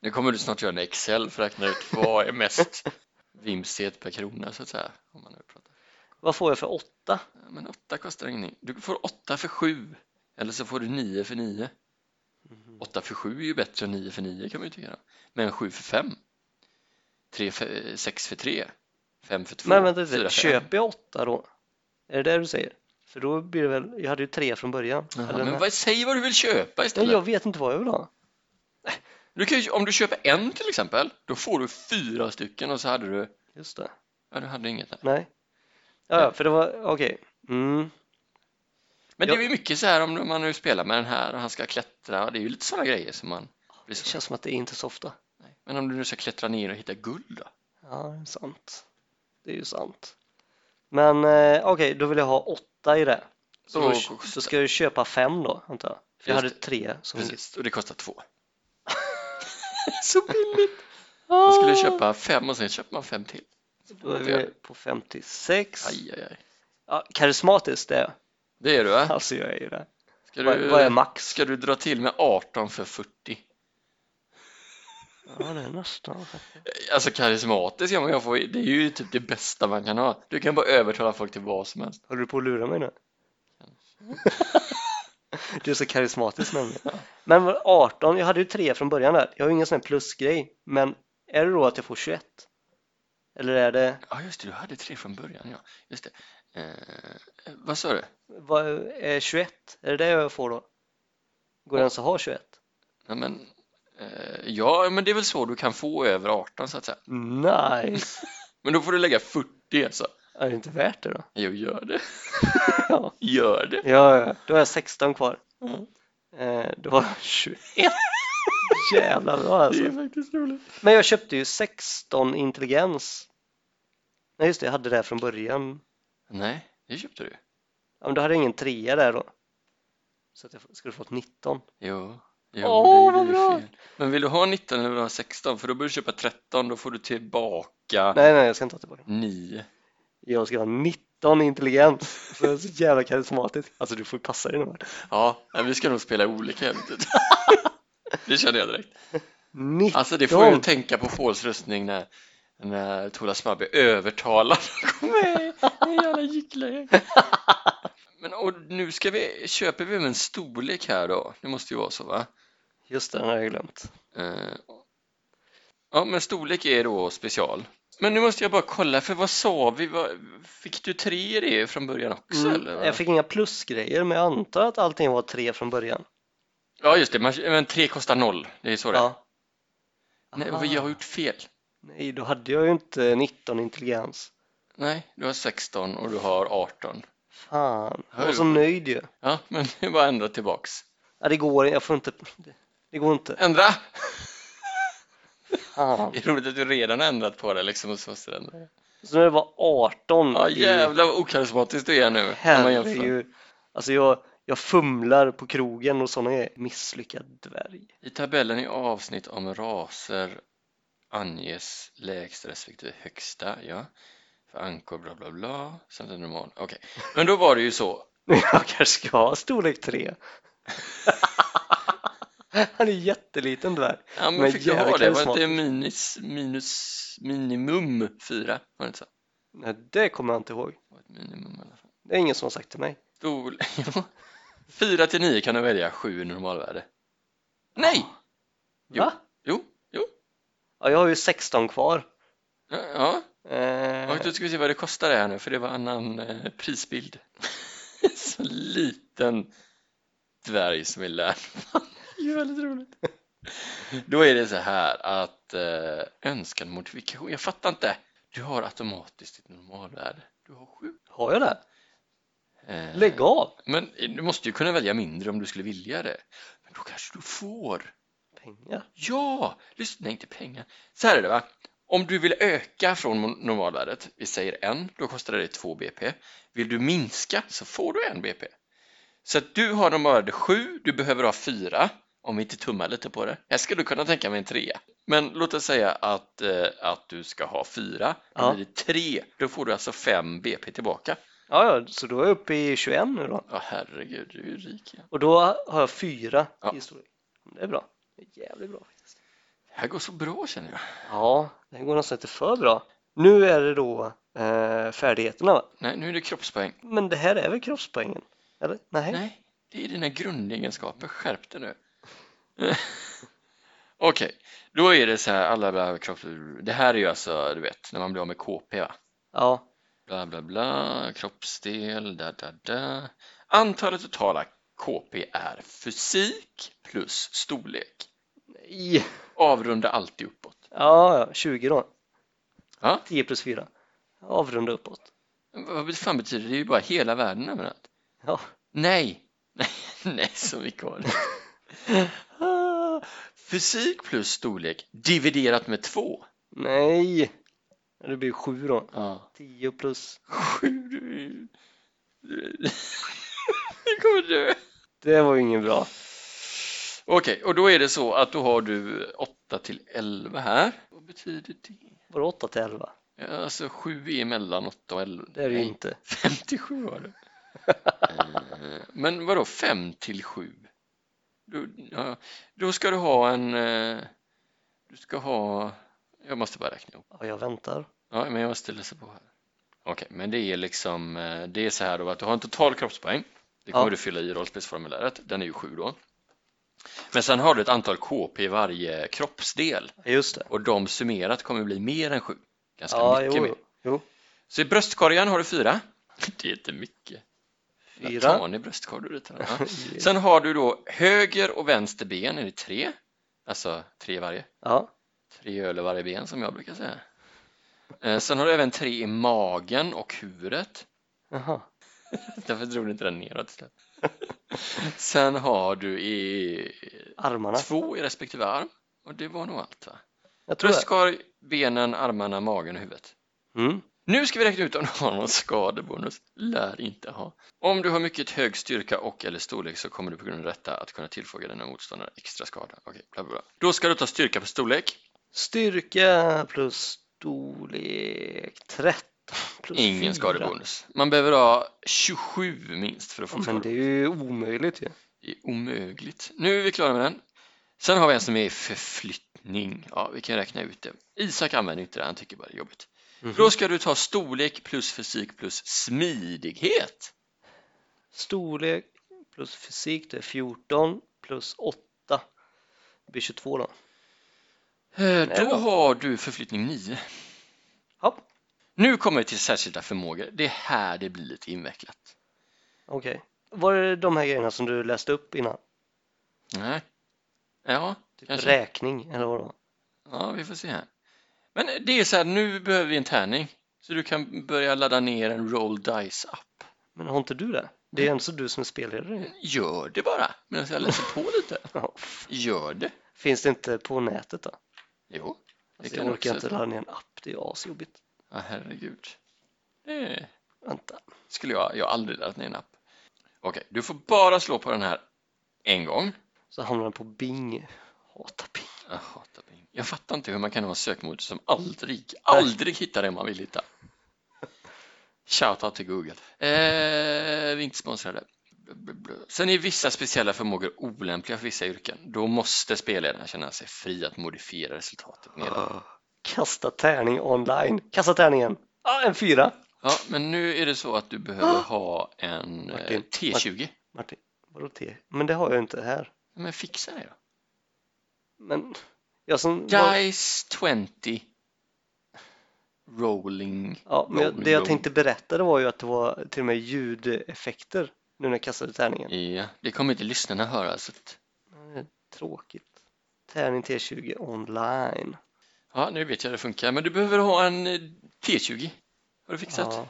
[SPEAKER 2] nu kommer du snart göra en Excel för att räkna ut vad är mest vimsighet per krona, så att säga. Om man nu pratar.
[SPEAKER 1] Vad får jag för åtta?
[SPEAKER 2] Men åtta kostar ingenting. Du får åtta för sju. Eller så får du nio för nio.
[SPEAKER 1] Mm-hmm.
[SPEAKER 2] Åtta för sju är ju bättre än nio för nio kan man ju tycka. då. Men sju för fem. Tre för, eh, sex för tre. Fem för två.
[SPEAKER 1] Men vänta lite,
[SPEAKER 2] fyra för en.
[SPEAKER 1] köper jag åtta då? Är det det du säger? För då blir det väl, jag hade ju tre från början.
[SPEAKER 2] Jaha,
[SPEAKER 1] Eller
[SPEAKER 2] men
[SPEAKER 1] nej.
[SPEAKER 2] vad, säg vad du vill köpa
[SPEAKER 1] Nej,
[SPEAKER 2] istället.
[SPEAKER 1] jag vet inte vad jag vill ha.
[SPEAKER 2] Du kan ju, om du köper en till exempel, då får du fyra stycken och så hade du,
[SPEAKER 1] Just det,
[SPEAKER 2] ja du hade inget där.
[SPEAKER 1] nej. Ja, ja, för det var, okej. Mm.
[SPEAKER 2] Men
[SPEAKER 1] Ja.
[SPEAKER 2] det är ju mycket så här om man nu spelar med den här och han ska klättra, det är ju lite sådana grejer som man
[SPEAKER 1] Det
[SPEAKER 2] blir så,
[SPEAKER 1] känns som att det är inte så ofta.
[SPEAKER 2] nej. Men om du nu ska klättra ner och hitta guld då?
[SPEAKER 1] Ja, det är sant. Det är ju sant. Men eh, okej, då vill jag ha åtta i det. Så
[SPEAKER 2] Då
[SPEAKER 1] då, då ska jag ju köpa fem då, antar jag. För jag
[SPEAKER 2] Just
[SPEAKER 1] hade tre som...
[SPEAKER 2] Precis, och det kostar två.
[SPEAKER 1] så billigt! Ah,
[SPEAKER 2] Man skulle köpa fem och sen köper man fem till.
[SPEAKER 1] Då är vi på 56.
[SPEAKER 2] Aj, aj, aj.
[SPEAKER 1] Ja, karismatiskt det är jag.
[SPEAKER 2] Det är du va?
[SPEAKER 1] Alltså jag är ju det.
[SPEAKER 2] Ska
[SPEAKER 1] Vad, vad är
[SPEAKER 2] du,
[SPEAKER 1] max?
[SPEAKER 2] ska du dra till med 18 för 40?
[SPEAKER 1] Ja, det är nästan.
[SPEAKER 2] Alltså karismatisk ja, men jag får, det är ju typ det bästa man kan ha. Du kan bara övertala folk till vad som helst.
[SPEAKER 1] Håller du på att lura mig nu? du är så karismatisk nämligen. Men vad- 18, jag hade ju 3 från början där. Jag har ju ingen sån här plusgrej. Men är det då att jag får 21? Eller är det,
[SPEAKER 2] Ja just det, du hade tre från början ja. Just det. Eh, vad sa du?
[SPEAKER 1] vad är 21? Är det det jag får då? Går det ens att ha 21?
[SPEAKER 2] Ja men, eh, ja men det är väl så du kan få över 18 så att säga.
[SPEAKER 1] Nice!
[SPEAKER 2] Men då får du lägga 40 alltså.
[SPEAKER 1] Är det inte värt det då?
[SPEAKER 2] Jo gör det,
[SPEAKER 1] ja.
[SPEAKER 2] gör det.
[SPEAKER 1] ja, ja. Då har jag 16 kvar.
[SPEAKER 2] Mm.
[SPEAKER 1] Eh, då har jag 21. Jävlar bra alltså.
[SPEAKER 2] Det är faktiskt roligt.
[SPEAKER 1] Men jag köpte ju 16 intelligens. Nej just det, jag hade det här från början.
[SPEAKER 2] Nej, det köpte du.
[SPEAKER 1] Ja, men då hade jag ingen trea där då. Så att jag f- skulle fått 19.
[SPEAKER 2] Jo, jo
[SPEAKER 1] Åh,
[SPEAKER 2] det
[SPEAKER 1] vad
[SPEAKER 2] är ju
[SPEAKER 1] bra.
[SPEAKER 2] fel. Men vill du ha 19 eller vill du ha 16? För då bör du köpa 13, då får du tillbaka
[SPEAKER 1] Nej, nej, jag ska inte ha tillbaka.
[SPEAKER 2] 9.
[SPEAKER 1] Jag ska ha 19 i intelligens. Så det är så jävla karismatisk. Alltså du får ju passa dig nu.
[SPEAKER 2] Ja, men vi ska nog spela olika häftigt. Det känner jag direkt.
[SPEAKER 1] 19!
[SPEAKER 2] Alltså det får jag ju tänka på Pauls röstning när, när Tola Smabbe övertalar Kom med, ni jävla gycklare. Men och nu ska vi, köper vi en storlek här då? Det måste ju vara så va?
[SPEAKER 1] Just det, den har jag glömt.
[SPEAKER 2] Eh, Ja, men storlek är då special. Men nu måste jag bara kolla, för vad sa vi? Vad- Fick du tre i det från början också? eller? va?
[SPEAKER 1] Mm, jag fick inga plusgrejer, men jag antar att allting var tre från början.
[SPEAKER 2] Ja, just det. Man, men tre kostar noll. Det är så det är.
[SPEAKER 1] Ja.
[SPEAKER 2] Nej,
[SPEAKER 1] Aha.
[SPEAKER 2] vad jag har gjort fel.
[SPEAKER 1] Nej, då hade jag ju inte 19 intelligens.
[SPEAKER 2] Nej, du har 16 och du har 18.
[SPEAKER 1] Fan, jag var
[SPEAKER 2] Hör
[SPEAKER 1] så nöjd ju.
[SPEAKER 2] Ja, men det är bara att ändra tillbaks.
[SPEAKER 1] Ja, det går inte, jag får inte. Det går inte.
[SPEAKER 2] Ändra!
[SPEAKER 1] Fan.
[SPEAKER 2] Det är roligt att du redan har ändrat på det liksom och så måste du ändra.
[SPEAKER 1] Så när det var 18
[SPEAKER 2] Ja,
[SPEAKER 1] i-
[SPEAKER 2] jävlar vad okarismatiskt du är nu. när man jämför.
[SPEAKER 1] Herregud. Alltså jag, jag fumlar på krogen och sådana är misslyckad dvärg.
[SPEAKER 2] I tabellen i avsnitt om raser anges lägsta respektive högsta, ja. För ankor, bla bla bla, samt en normal. Okej, men då var det ju så.
[SPEAKER 1] Jag kanske ska ha storlek 3. Han är jätteliten dvärg.
[SPEAKER 2] Ja, men,
[SPEAKER 1] Men
[SPEAKER 2] fick du ha
[SPEAKER 1] jävla
[SPEAKER 2] det? Var det inte
[SPEAKER 1] karismatiskt.
[SPEAKER 2] minus, minus, minimum fyra? Var det inte så?
[SPEAKER 1] Nej, det kommer jag inte ihåg.
[SPEAKER 2] Det var ett minimum i alla fall.
[SPEAKER 1] Det är ingen som har sagt till mig.
[SPEAKER 2] Stol... Ja. Fyra till nio kan du välja, sju i normalvärde. Nej! Jo.
[SPEAKER 1] Va?
[SPEAKER 2] Jo, jo.
[SPEAKER 1] Ja, jag har ju 16 kvar.
[SPEAKER 2] Ja, ja.
[SPEAKER 1] Eh,
[SPEAKER 2] Och då ska vi se vad det kostar det här nu, för det var annan eh, prisbild. Så liten dvärg som är lärd. Det är ju väldigt roligt. Då är det så här att eh, önskan modifikation, jag fattar inte. Du har automatiskt ditt normalvärde. Du har sju.
[SPEAKER 1] har jag det?
[SPEAKER 2] Eh,
[SPEAKER 1] Lägg av!
[SPEAKER 2] Men du måste ju kunna välja mindre om du skulle vilja det. Men då kanske du får.
[SPEAKER 1] Pengar.
[SPEAKER 2] Ja, lyssna inte pengar. Så här är det va. Om du vill öka från mon- normalvärdet, vi säger en, då kostar det 2 BP. Vill du minska så får du en BP. Så att du har normalvärde 7, du behöver ha 4, om vi inte tummar lite på det. Jag skulle kunna tänka mig en 3. Men låt oss säga att, eh, att du ska ha 4, då
[SPEAKER 1] Ja.
[SPEAKER 2] blir det 3, då får du alltså 5 BP tillbaka.
[SPEAKER 1] Ja, ja, så då är jag uppe i 21 nu då.
[SPEAKER 2] Ja, herregud, du är ju rik. ja.
[SPEAKER 1] Och då har jag 4
[SPEAKER 2] Ja.
[SPEAKER 1] i storlek. Det är bra. Det är jävligt bra faktiskt.
[SPEAKER 2] Det här går så bra känner jag.
[SPEAKER 1] Ja, det går nästan inte för bra. Nu är det då eh, färdigheterna va?
[SPEAKER 2] Nej, nu är det kroppspoäng.
[SPEAKER 1] Men det här är väl kroppspoängen? Eller? Nej.
[SPEAKER 2] Nej, det är dina grundegenskaper. Skärp dig nu. Okej, då är det så här, alla bla, kropp, det här är ju alltså, du vet, när man blir av med KP va?
[SPEAKER 1] Ja,
[SPEAKER 2] Bla bla bla, kroppsdel, da da da. Antalet totala KP är fysik plus storlek.
[SPEAKER 1] nej.
[SPEAKER 2] Avrunda alltid uppåt.
[SPEAKER 1] Ja, ja, 20 då.
[SPEAKER 2] Ja.
[SPEAKER 1] 10 plus 4. Avrunda uppåt.
[SPEAKER 2] Vad fan betyder det? Det är ju bara hela världen överallt.
[SPEAKER 1] Ja.
[SPEAKER 2] Nej, nej, nej, så mycket var det. Ah, Fysik plus storlek dividerat med två.
[SPEAKER 1] Nej. Ja, Det blir 7 då.
[SPEAKER 2] Ja.
[SPEAKER 1] 10 plus.
[SPEAKER 2] Sju, du... du- Du kommer dö.
[SPEAKER 1] Det var ju ingen bra.
[SPEAKER 2] Okej, och då är det så att då har du 8 till 11 här. Vad betyder det?
[SPEAKER 1] Var det 8 till 11?
[SPEAKER 2] Ja, Alltså 7 är mellan 8 och 11.
[SPEAKER 1] Det är det ju
[SPEAKER 2] Nej,
[SPEAKER 1] inte.
[SPEAKER 2] 57 har du. Eh, Men vadå 5 till 7? Då, ja, då ska du ha en... eh, Du ska ha... Jag måste bara räkna ihop.
[SPEAKER 1] Ja, jag väntar.
[SPEAKER 2] Ja, men jag ställer sig på här. Okej, men det är liksom, eh, det är så här då att du har en total kroppspoäng. Det kommer
[SPEAKER 1] Ja.
[SPEAKER 2] du fylla i rollspelsformuläret, den är ju 7 då. Men sen har du ett antal KP i varje kroppsdel
[SPEAKER 1] Ja, just det.
[SPEAKER 2] och de summerat kommer bli mer än 7. Ganska
[SPEAKER 1] Ja,
[SPEAKER 2] mycket
[SPEAKER 1] jo,
[SPEAKER 2] mer.
[SPEAKER 1] jo. jo.
[SPEAKER 2] Så i bröstkorgen har du 4. Det är inte mycket.
[SPEAKER 1] Fyra.
[SPEAKER 2] Tanig bröstkorg du ritar. Ja. Sen har du då höger och vänster ben, är det 3? Alltså 3 i varje.
[SPEAKER 1] Ja,
[SPEAKER 2] Tre öl i varje ben som jag brukar säga. Eh, Sen har du även tre i magen och huvudet.
[SPEAKER 1] jaha.
[SPEAKER 2] Därför drog du inte den neråt. istället. Sen har du i
[SPEAKER 1] Armarna.
[SPEAKER 2] två i respektive arm. Och det var nog allt va?
[SPEAKER 1] Jag tror det.
[SPEAKER 2] Bröstkorg, benen, armarna, magen och huvudet.
[SPEAKER 1] Mm.
[SPEAKER 2] Nu ska vi räkna ut om du har någon skadebonus. Lär inte ha. Om du har mycket hög styrka och eller storlek så kommer du på grund av detta att kunna tillfoga dina motståndare extra skada. Okej, bla bla bla. Då ska du ta styrka på storlek.
[SPEAKER 1] Styrka plus storlek 13 plus
[SPEAKER 2] Ingen
[SPEAKER 1] 4.
[SPEAKER 2] skadebonus. Man behöver ha 27 minst för att få
[SPEAKER 1] Men
[SPEAKER 2] skadebonus.
[SPEAKER 1] det är ju omöjligt ju.
[SPEAKER 2] Det är omöjligt. Nu är vi klara med den. Sen har vi en som är förflyttning. Ja, vi kan räkna ut det. Isak använder inte det, han tycker bara det är jobbigt.
[SPEAKER 1] Mhm.
[SPEAKER 2] Då ska du ta storlek plus fysik plus smidighet.
[SPEAKER 1] Storlek plus fysik det är 14 plus 8 det blir 22 då.
[SPEAKER 2] Eh, Då
[SPEAKER 1] då.
[SPEAKER 2] har du förflyttning 9.
[SPEAKER 1] Ja,
[SPEAKER 2] Nu kommer vi till särskilda förmågor. Det är här det blir lite invecklat.
[SPEAKER 1] okej. Var det de här grejerna som du läste upp innan?
[SPEAKER 2] Nej. Ja,
[SPEAKER 1] Typ
[SPEAKER 2] Kanske.
[SPEAKER 1] räkning eller vadå?
[SPEAKER 2] ja, vi får se här. Men det är så här, nu behöver vi en tärning. Så du kan börja ladda ner en roll dice app.
[SPEAKER 1] Men har inte du det? Det är ju ändå du som är spelledare ju.
[SPEAKER 2] Gör det bara medan jag läser på lite.
[SPEAKER 1] ja.
[SPEAKER 2] Gör det.
[SPEAKER 1] Finns det inte på nätet då?
[SPEAKER 2] Jo. Det
[SPEAKER 1] Alltså,
[SPEAKER 2] kan
[SPEAKER 1] jag
[SPEAKER 2] du
[SPEAKER 1] orkar
[SPEAKER 2] också.
[SPEAKER 1] inte ladda ner en app, det är ju asjobbigt.
[SPEAKER 2] Ja, herregud. Det
[SPEAKER 1] Vänta.
[SPEAKER 2] skulle jag, jag har aldrig laddat ner en app. Okej, du får bara slå på den här en gång.
[SPEAKER 1] Så hamnar den på Bing. Hatar Bing.
[SPEAKER 2] Jag hatar Bing. Jag fattar inte hur man kan ha en sökmotor som aldrig, aldrig hittar det man vill hitta. Shoutout till Google. Eh, vi är inte sponsrade. Blablabla. Sen är vissa speciella förmågor olämpliga för vissa yrken. Då måste spelledaren känna sig fri att modifiera resultatet
[SPEAKER 1] Ah.
[SPEAKER 2] med dem.
[SPEAKER 1] Kasta tärning online. Kasta tärningen. Ah, en fyra.
[SPEAKER 2] Ja, men nu är det så att du behöver ha en eh,
[SPEAKER 1] Martin,
[SPEAKER 2] T20.
[SPEAKER 1] Martin, vadå T? Men det har jag ju inte här.
[SPEAKER 2] Men fixa det då.
[SPEAKER 1] Men jag som... var-
[SPEAKER 2] Dice 20 Rolling.
[SPEAKER 1] Ja, men jag,
[SPEAKER 2] rolling,
[SPEAKER 1] det jag
[SPEAKER 2] rolling.
[SPEAKER 1] tänkte berätta det var ju att det var till och med ljudeffekter nu när jag kastade tärningen.
[SPEAKER 2] Ja, det kommer inte lyssnarna höra. Så att...
[SPEAKER 1] Tråkigt. Tärning T20 online.
[SPEAKER 2] Ja, nu vet jag hur det funkar, men du behöver ha en eh, T20. Har du fixat? Ja,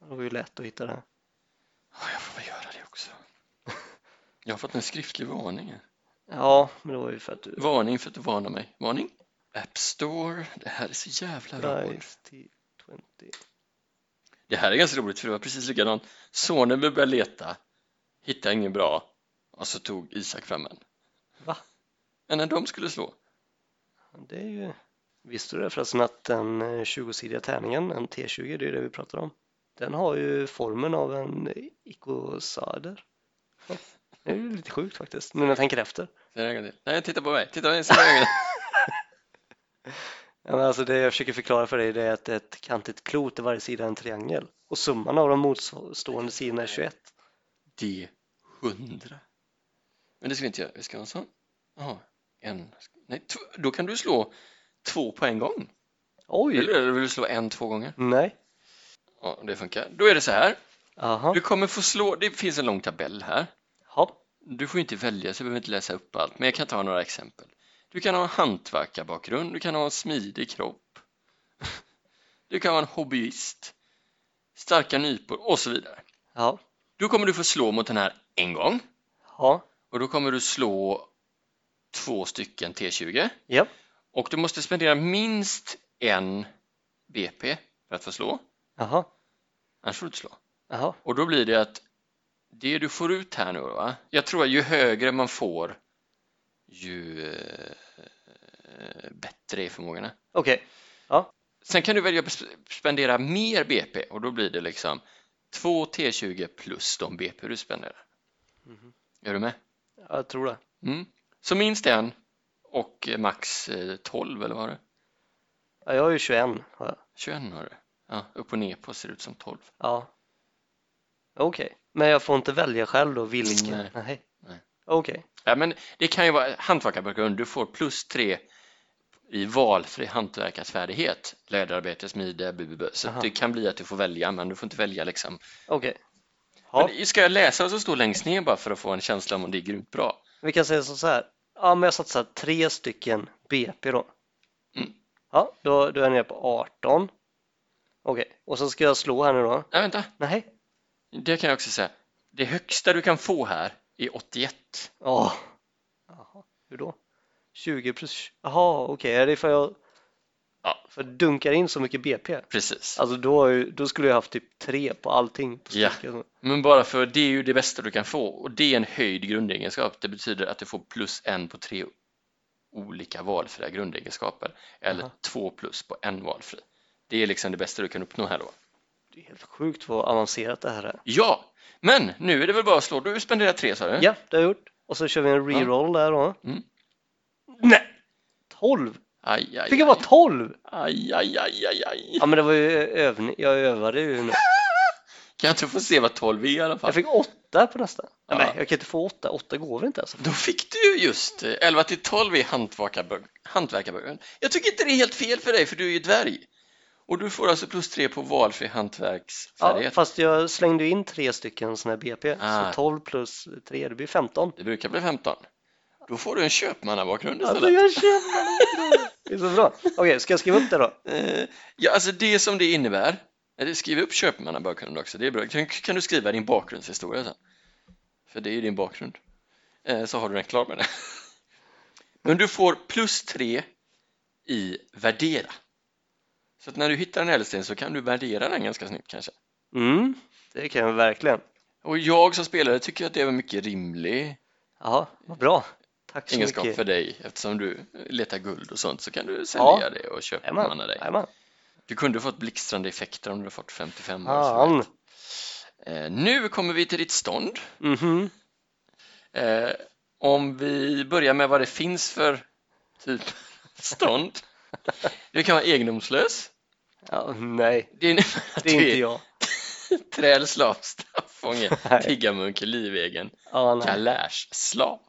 [SPEAKER 1] Ja, det var ju lätt att hitta det.
[SPEAKER 2] jag får väl göra det också. Jag har fått en skriftlig varning. här.
[SPEAKER 1] Ja, men det var ju för att du...
[SPEAKER 2] Varning för att du varnar mig. Varning? App Store. Det här är så jävla roligt.
[SPEAKER 1] Dice T20.
[SPEAKER 2] Det här är ganska roligt för det var precis likadant. Sonen började leta, hittade ingen bra och så tog Isak fram en.
[SPEAKER 1] Va?
[SPEAKER 2] Men när de skulle slå.
[SPEAKER 1] Ja, Det är ju... Visste du det förresten att den eh, 20-sidiga tärningen, en T20, det är det vi pratar om. Den har ju formen av en ikosader. Ja, Det är ju lite sjukt faktiskt, nu när jag tänker efter.
[SPEAKER 2] Säg det en gång till. Nej, titta på mig. Titta på mig. säg det en gång till.
[SPEAKER 1] Ja, men Alltså det jag försöker förklara för dig det är att ett kantigt klot är varje sida en triangel och summan av de motstående sidorna är 21.
[SPEAKER 2] D100. Men det ska vi inte göra. Vi ska ha en sån. Jaha, en. Nej, två. då kan du slå två på en gång.
[SPEAKER 1] Oj!
[SPEAKER 2] Eller vill du slå en två gånger?
[SPEAKER 1] Nej.
[SPEAKER 2] Ja, det funkar. Då är det så här.
[SPEAKER 1] Aha.
[SPEAKER 2] Du kommer få slå. Det finns en lång tabell här.
[SPEAKER 1] Ja.
[SPEAKER 2] Du får inte välja så jag behöver inte läsa upp allt. Men jag kan ta några exempel. Du kan ha en hantverkarbakgrund. Du kan ha en smidig kropp. Du kan vara en hobbyist. Starka nypor och så vidare.
[SPEAKER 1] Ja.
[SPEAKER 2] Då kommer du få slå mot den här en gång.
[SPEAKER 1] Ja.
[SPEAKER 2] Och då kommer du slå två stycken T20
[SPEAKER 1] Ja.
[SPEAKER 2] och du måste spendera minst en BP för att få slå,
[SPEAKER 1] Aha.
[SPEAKER 2] annars får du inte slå.
[SPEAKER 1] Aha.
[SPEAKER 2] Och då blir det att det du får ut här nu va, jag tror att ju högre man får ju eh, bättre är förmågorna.
[SPEAKER 1] Okej.
[SPEAKER 2] Sen kan du välja att sp- spendera mer BP och då blir det liksom två T20 plus de BP du spenderar.
[SPEAKER 1] Mhm.
[SPEAKER 2] Är du med?
[SPEAKER 1] Jag tror det.
[SPEAKER 2] Mm. Så minst en och eh, max eh, 12 eller vad var det?
[SPEAKER 1] Ja, jag är ju 21 har jag.
[SPEAKER 2] 21 har du. Ja, upp och ner på ser ut som 12.
[SPEAKER 1] Ja. Okej, men jag får inte välja själv då vilken?
[SPEAKER 2] Nej. Nej.
[SPEAKER 1] Okej,
[SPEAKER 2] Ja, men det kan ju vara hantverkarbakgrund. Du får plus 3 i valfri hantverkarsfärdighet. Läderarbete, smide, bu, bu, bu. Så
[SPEAKER 1] Aha.
[SPEAKER 2] det kan bli att du får välja, men du får inte välja liksom.
[SPEAKER 1] okej. Ja.
[SPEAKER 2] Men ska jag läsa vad som står längst ner bara för att få en känsla om det är grymt bra?
[SPEAKER 1] Vi kan säga så här. Ja, men jag satsar tre stycken BP då.
[SPEAKER 2] Mm.
[SPEAKER 1] Ja, då, då är jag nere på 18. Okej, och så ska jag slå här nu då.
[SPEAKER 2] Nej, vänta.
[SPEAKER 1] Nej.
[SPEAKER 2] Det kan jag också säga. Det högsta du kan få här är 81.
[SPEAKER 1] Ja. Jaha, hur då? 20 plus... Jaha, okej, är det för jag
[SPEAKER 2] Ja.
[SPEAKER 1] För dunkar in så mycket BP,
[SPEAKER 2] Precis.
[SPEAKER 1] alltså då, har ju- då skulle jag haft typ tre på allting. På
[SPEAKER 2] Ja.
[SPEAKER 1] styrka.
[SPEAKER 2] Men bara för det är ju det bästa du kan få och det är en höjd grundegenskap. Det betyder att du får plus en på tre olika valfria grundegenskaper eller
[SPEAKER 1] Aha.
[SPEAKER 2] två plus på en valfri. Det är liksom det bästa du kan uppnå här då.
[SPEAKER 1] Det är helt sjukt vad avancerat det här är.
[SPEAKER 2] Ja, men nu är det väl bara att slå. Du spenderar tre sa du?
[SPEAKER 1] Ja, det har jag gjort. Och så kör vi en reroll där då.
[SPEAKER 2] Mm.
[SPEAKER 1] Nej! 12!
[SPEAKER 2] Aj, aj,
[SPEAKER 1] Fick jag bara 12?
[SPEAKER 2] aj, aj, aj, aj, aj.
[SPEAKER 1] Ja men det var ju övning, jag övade ju nu.
[SPEAKER 2] Kan jag inte få se vad 12 är i alla fall?
[SPEAKER 1] Jag fick 8 på nästa.
[SPEAKER 2] Ja.
[SPEAKER 1] Nej, jag kan inte få 8, 8 går väl inte alltså.
[SPEAKER 2] Då fick du ju just eh, 11 till 12 i hantverkarbö- hantverkarbögen. Jag tycker inte det är helt fel för dig för du är ju dvärg. Och du får alltså plus 3 på valfri
[SPEAKER 1] Ja,
[SPEAKER 2] hantverksfärdighet.
[SPEAKER 1] fast jag slängde ju in tre stycken sådana här BP,
[SPEAKER 2] Ah.
[SPEAKER 1] så 12 plus 3, det blir 15.
[SPEAKER 2] Det brukar bli 15. Då får du en köpmannabakgrund
[SPEAKER 1] Alltså
[SPEAKER 2] istället.
[SPEAKER 1] jag känner det! Det är så bra. Okej, ska jag skriva upp det då?
[SPEAKER 2] Eh, Ja, alltså det som det innebär. eh, Skriv upp köpmannabakgrunden också. Det är bra. Kan, kan du skriva din bakgrundshistoria sen? För det är ju din bakgrund. Eh, Så har du den klar med det. Men du får plus 3 i värdera. Så att när du hittar en ädelsten så kan du värdera den ganska snyggt kanske.
[SPEAKER 1] Mm, det kan jag verkligen.
[SPEAKER 2] Och jag som spelare tycker att det är en mycket rimlig
[SPEAKER 1] Jaha, vad bra. Tack så
[SPEAKER 2] egenskap
[SPEAKER 1] mycket.
[SPEAKER 2] för dig eftersom du letar guld och sånt så kan du sälja
[SPEAKER 1] Ja.
[SPEAKER 2] det och
[SPEAKER 1] Jajamän,
[SPEAKER 2] köpmanna dig.
[SPEAKER 1] jajamän.
[SPEAKER 2] Du kunde fått blixtrande effekter om du hade fått 55 år.
[SPEAKER 1] Fan.
[SPEAKER 2] Eh, nu kommer vi till ditt stånd.
[SPEAKER 1] Mhm.
[SPEAKER 2] Eh, om vi börjar med vad det finns för typ stånd. Du kan vara egendomslös.
[SPEAKER 1] Ja, nej,
[SPEAKER 2] Det är,
[SPEAKER 1] det är inte jag.
[SPEAKER 2] Träl, slav, straffånge,
[SPEAKER 1] Nej.
[SPEAKER 2] tiggarmunk, livegen,
[SPEAKER 1] Ja, nej.
[SPEAKER 2] kalash, slav.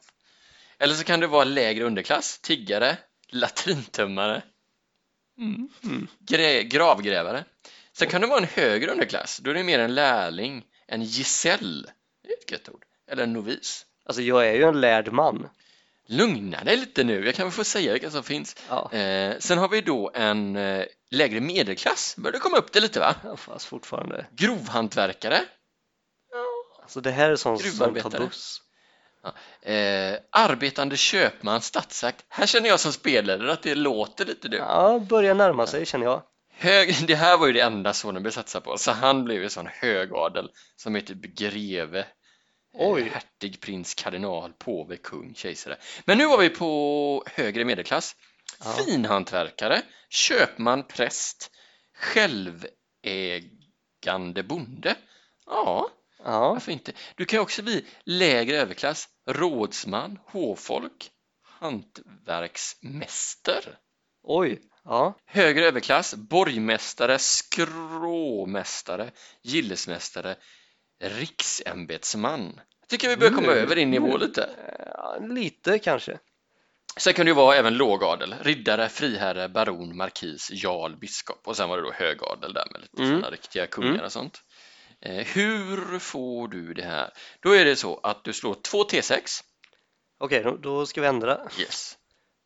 [SPEAKER 2] Eller så kan du vara lägre underklass, tiggare, latintömmare, grä, gravgrävare. Sen kan du vara en högre underklass, då är du mer en lärling, en gisell, det är ett gött ord, eller en novis.
[SPEAKER 1] Alltså jag är ju en lärd man.
[SPEAKER 2] Lugna dig lite nu, jag kan väl få säga vilka som finns.
[SPEAKER 1] Ja.
[SPEAKER 2] Eh, sen har vi då en eh, lägre medelklass, börjar du komma upp det lite va?
[SPEAKER 1] Ja, Fast fortfarande.
[SPEAKER 2] Grovhantverkare,
[SPEAKER 1] Alltså det här är sånt som tar
[SPEAKER 2] Gruvarbetare.
[SPEAKER 1] buss.
[SPEAKER 2] eh, arbetande köpman, stadsakt. Här känner jag som spelare att det låter lite du.
[SPEAKER 1] Ja, börjar närma sig känner jag.
[SPEAKER 2] Hög, det här var ju det enda Sonneby satsade på, så han blev ju sån högadel som heter greve,
[SPEAKER 1] Oj.
[SPEAKER 2] eh, hertig, prins, kardinal, påve, kung, kejsare. Men nu var vi på högre medelklass.
[SPEAKER 1] Ja.
[SPEAKER 2] Finhantverkare, köpman, präst, självägande bonde. Ja,
[SPEAKER 1] Ja,
[SPEAKER 2] varför inte? Du kan ju också bli lägre överklass, rådsman, hovfolk, hantverksmäster.
[SPEAKER 1] oj. Ja,
[SPEAKER 2] Högre överklass, borgmästare, skråmästare, gillesmästare, riksämbetsman. Jag tycker vi börjar komma
[SPEAKER 1] Mm.
[SPEAKER 2] över din nivå lite.
[SPEAKER 1] Eh, lite kanske.
[SPEAKER 2] Sen kan det ju vara även lågadel, riddare, friherre, baron, markis, jarl, biskop och sen var det då högadel där med lite
[SPEAKER 1] Mm.
[SPEAKER 2] sådana riktiga kungar och sånt. Eh, hur får du det här? Då är det så att du slår 2 T6,
[SPEAKER 1] Okej, då, då ska vi ändra.
[SPEAKER 2] yes.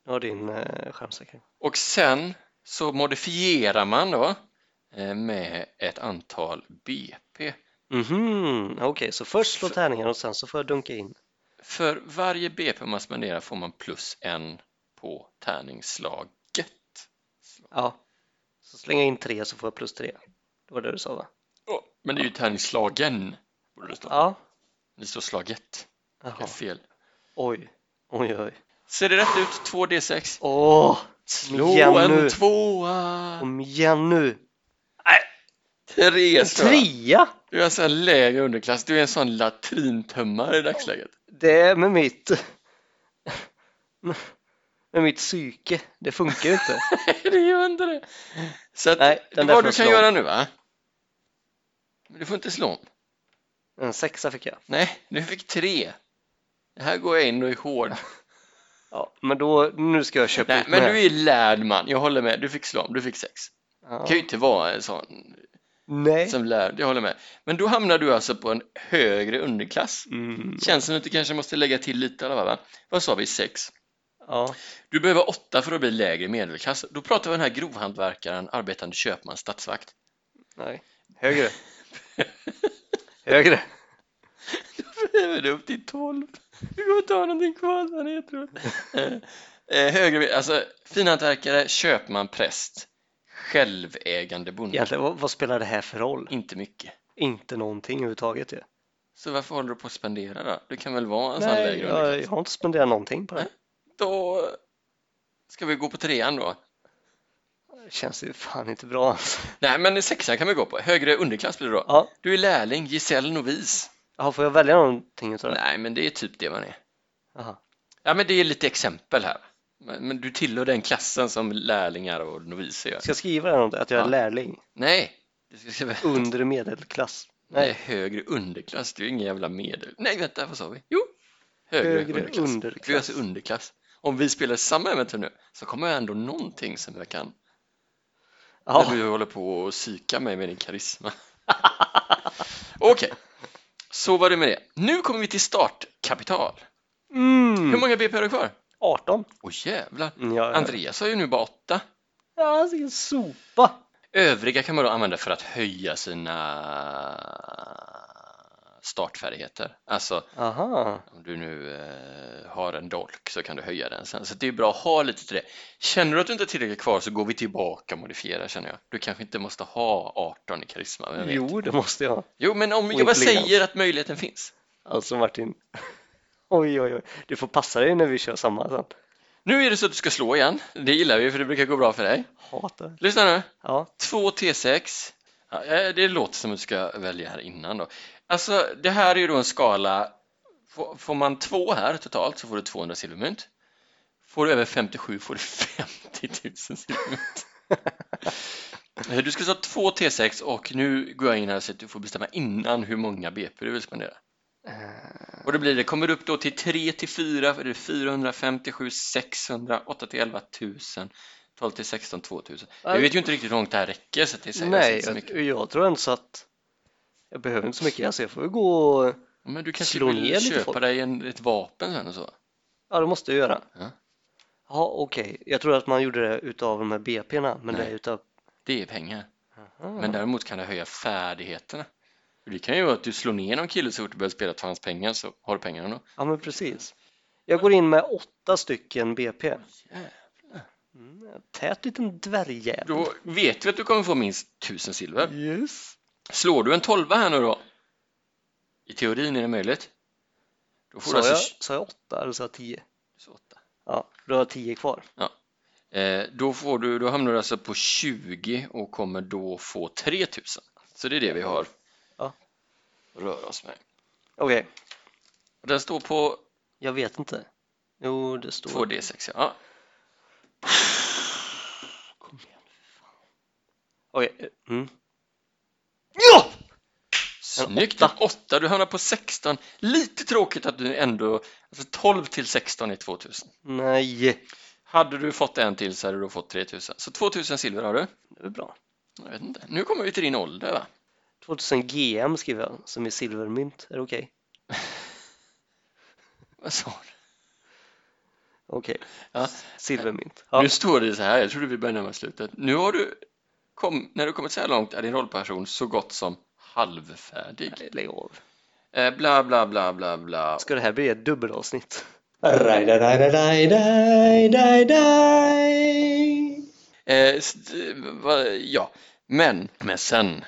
[SPEAKER 1] Nu har din eh, skärm säkert.
[SPEAKER 2] och sen så modifierar man då eh, med ett antal BP.
[SPEAKER 1] Mhm, okej, så först slå tärningen och sen så får jag dunka in.
[SPEAKER 2] För varje BP man spenderar får man plus en på tärningsslaget.
[SPEAKER 1] Ja, så slänger jag in tre så får jag plus tre. Det var det du sa va?
[SPEAKER 2] Åh, men det är ju tärningsslagen, borde det stå.
[SPEAKER 1] Ja,
[SPEAKER 2] Det står slaget, det är
[SPEAKER 1] Jaha.
[SPEAKER 2] fel.
[SPEAKER 1] oj, oj, oj.
[SPEAKER 2] Ser det rätt ut? 2D6.
[SPEAKER 1] Åh,
[SPEAKER 2] Slå
[SPEAKER 1] igen
[SPEAKER 2] en
[SPEAKER 1] nu.
[SPEAKER 2] tvåa!
[SPEAKER 1] kom igen nu.
[SPEAKER 2] Tre
[SPEAKER 1] En
[SPEAKER 2] tror jag.
[SPEAKER 1] trea!
[SPEAKER 2] Du är alltså en lägre underklass. Du är en sån latrintömmare i dagsläget.
[SPEAKER 1] Det är med mitt med mitt psyke. Det funkar ju inte.
[SPEAKER 2] det gör inte det. Så att,
[SPEAKER 1] Nej, den där får
[SPEAKER 2] vad du
[SPEAKER 1] jag
[SPEAKER 2] kan
[SPEAKER 1] slå.
[SPEAKER 2] göra nu va? Men Du får inte slå om.
[SPEAKER 1] En sexa fick jag.
[SPEAKER 2] Nej, du fick tre. Det här går jag in och är hård.
[SPEAKER 1] Ja, men då, nu ska jag köpa
[SPEAKER 2] Nej,
[SPEAKER 1] upp
[SPEAKER 2] men
[SPEAKER 1] mig.
[SPEAKER 2] du är lärd man. Jag håller med. Du fick slå om. Du fick sex.
[SPEAKER 1] ja.
[SPEAKER 2] Du kan ju inte vara en sån
[SPEAKER 1] Nej.
[SPEAKER 2] som lärd. Jag håller med. Men då hamnar du alltså på en högre underklass.
[SPEAKER 1] Mm.
[SPEAKER 2] Känns som att du kanske måste lägga till lite i alla fall, va? Vad sa vi? Sex.
[SPEAKER 1] Ja.
[SPEAKER 2] Du behöver åtta för att bli lägre medelklass. Då pratar vi om den här grovhantverkaren, arbetande köpman, stadsvakt.
[SPEAKER 1] Nej. Högre. Högre.
[SPEAKER 2] Då behöver du upp till tolv. Du kommer inte ha någonting kvar där nere tror jag. Eh, eh, högre, alltså finhantverkare, köpman, präst, Självägande bonde.
[SPEAKER 1] Egentligen, vad, vad spelar det här för roll?
[SPEAKER 2] Inte mycket.
[SPEAKER 1] Inte någonting överhuvudtaget ju.
[SPEAKER 2] Så varför håller du på att spendera då? Du kan väl vara en sån
[SPEAKER 1] Nej,
[SPEAKER 2] lägre
[SPEAKER 1] jag, jag
[SPEAKER 2] underklass?
[SPEAKER 1] har inte spenderat någonting på det.
[SPEAKER 2] Då ska vi gå på trean då.
[SPEAKER 1] Det känns ju fan inte bra alltså.
[SPEAKER 2] Nej, men sexan kan vi gå på. Högre underklass blir det då.
[SPEAKER 1] Ja.
[SPEAKER 2] Du är lärling, Giselle novis.
[SPEAKER 1] Jaha, får jag välja någonting utav det?
[SPEAKER 2] Nej, men det är typ det man är.
[SPEAKER 1] Jaha.
[SPEAKER 2] Ja, men det är lite exempel här. Men, men du tillhör den klassen som lärlingar och noviser gör.
[SPEAKER 1] Ska jag skriva det här någonting? Att jag är
[SPEAKER 2] Ja.
[SPEAKER 1] lärling?
[SPEAKER 2] Nej, det ska skriva
[SPEAKER 1] Undre medelklass?
[SPEAKER 2] Nej.
[SPEAKER 1] Nej,
[SPEAKER 2] högre underklass. Du är ingen jävla medel. Nej, vänta, vad sa vi? Jo, högre,
[SPEAKER 1] Högre
[SPEAKER 2] underklass.
[SPEAKER 1] underklass.
[SPEAKER 2] Du är alltså underklass. Om vi spelar samma äventyr nu så kommer jag ändå någonting som jag kan.
[SPEAKER 1] ja.
[SPEAKER 2] När du håller på att psyka mig med din karisma. Okej, så var det med det. Nu kommer vi till startkapital. Hur
[SPEAKER 1] Mm.
[SPEAKER 2] många BP har du kvar?
[SPEAKER 1] 18?
[SPEAKER 2] Åh jävlar.
[SPEAKER 1] Mm, Ja, ja.
[SPEAKER 2] Andreas har ju nu bara åtta.
[SPEAKER 1] Ja,
[SPEAKER 2] alltså,
[SPEAKER 1] vilken sopa!
[SPEAKER 2] Övriga kan man då använda för att höja sina startfärdigheter. Alltså
[SPEAKER 1] Aha.
[SPEAKER 2] om du nu eh, har en dolk så kan du höja den sen. Så det är bra att ha lite till det. Känner du att du inte är tillräckligt kvar så går vi tillbaka och modifierar känner jag. Du kanske inte måste ha 18 i karisma. vem vet?
[SPEAKER 1] Jo, det måste jag.
[SPEAKER 2] jo, men om jag bara
[SPEAKER 1] intelligens.
[SPEAKER 2] säger att möjligheten finns.
[SPEAKER 1] Alltså Martin. Oj, oj, oj. Du får passa dig när vi kör samma sen.
[SPEAKER 2] Nu är det så att du ska slå igen. Det gillar vi för det brukar gå bra för dig.
[SPEAKER 1] Hatar.
[SPEAKER 2] Lyssna nu.
[SPEAKER 1] Ja.
[SPEAKER 2] 2 T6. Ja, eh, det låter som att du ska välja här innan då. Alltså, det här är ju då en skala. Får- Får man två här totalt så får du 200 silvermynt. Får du över 57 får du 50 000 silvermynt. Eh, Du ska ta två T6 och nu går jag in här så att du får bestämma innan hur många BP du vill spendera. Och då blir det, kommer du upp då till 3 till 4, för det är 457, 600, 8 till 11 000, 12 till 16, 2000. Jag vet ju inte riktigt hur långt det här räcker så att det säger
[SPEAKER 1] Nej,
[SPEAKER 2] inte så mycket.
[SPEAKER 1] jag, jag tror inte så att jag behöver inte så mycket. Alltså jag får ju gå.
[SPEAKER 2] Men du kanske
[SPEAKER 1] slå ner
[SPEAKER 2] vill
[SPEAKER 1] lite
[SPEAKER 2] köpa
[SPEAKER 1] folk.
[SPEAKER 2] dig en, ett vapen sen och så?
[SPEAKER 1] Ja, det måste jag göra.
[SPEAKER 2] Ja.
[SPEAKER 1] Ja, okej. Jag tror att man gjorde det utav de här BP'na, men det
[SPEAKER 2] Nej.
[SPEAKER 1] är utav... Ah,
[SPEAKER 2] Det är pengar.
[SPEAKER 1] Aha.
[SPEAKER 2] Men däremot kan det höja färdigheterna. Det kan ju vara att du slår ner någon kille så fort du börjar spela för hans pengar så har du pengarna då.
[SPEAKER 1] Ja, men precis. Jag går in med åtta stycken BP. Mm, tät liten dvärgjävel.
[SPEAKER 2] Då vet vi att du kommer få minst 1000 silver.
[SPEAKER 1] Yes.
[SPEAKER 2] Slår du en tolva här nu då? I teorin är det möjligt. Då får
[SPEAKER 1] Sa
[SPEAKER 2] du
[SPEAKER 1] jag,
[SPEAKER 2] alltså
[SPEAKER 1] sa jag åtta eller sa jag tio?
[SPEAKER 2] 28.
[SPEAKER 1] Ja, då har jag tio kvar.
[SPEAKER 2] Eh, då, får du, då hamnar du alltså på 20 och kommer då få 3000. Så det är det vi har
[SPEAKER 1] Ja.
[SPEAKER 2] att röra oss med.
[SPEAKER 1] Okej,
[SPEAKER 2] Och Den står på
[SPEAKER 1] jag vet inte. Jo, det står...
[SPEAKER 2] 2D6. Ja.
[SPEAKER 1] Kom igen, fan. Okej, mm.
[SPEAKER 2] ja! Snyggt!
[SPEAKER 1] En
[SPEAKER 2] En åtta. Du hamnar på 16. Lite tråkigt att du ändå... Alltså 12 till 16 är 2000.
[SPEAKER 1] Nej,
[SPEAKER 2] Hade du fått en till så hade du fått 3000. Så 2000 silver har du.
[SPEAKER 1] det är bra.
[SPEAKER 2] Jag vet inte. Nu kommer vi till din ålder va?
[SPEAKER 1] 2000 GM skriver jag, som är silvermynt. Är det okej?
[SPEAKER 2] Vad sa du?
[SPEAKER 1] Okej,
[SPEAKER 2] Ja.
[SPEAKER 1] silvermynt. Ja.
[SPEAKER 2] Nu står det så här, jag trodde vi började närma oss slutet. Nu har du, kom, när du kommit så här långt är din rollperson så gott som halvfärdig.
[SPEAKER 1] Nej, Lägg av.
[SPEAKER 2] Eh, bla, bla, bla, bla, bla.
[SPEAKER 1] Ska det här bli ett dubbelavsnitt?
[SPEAKER 2] Eh, st- va, ja, men, men sen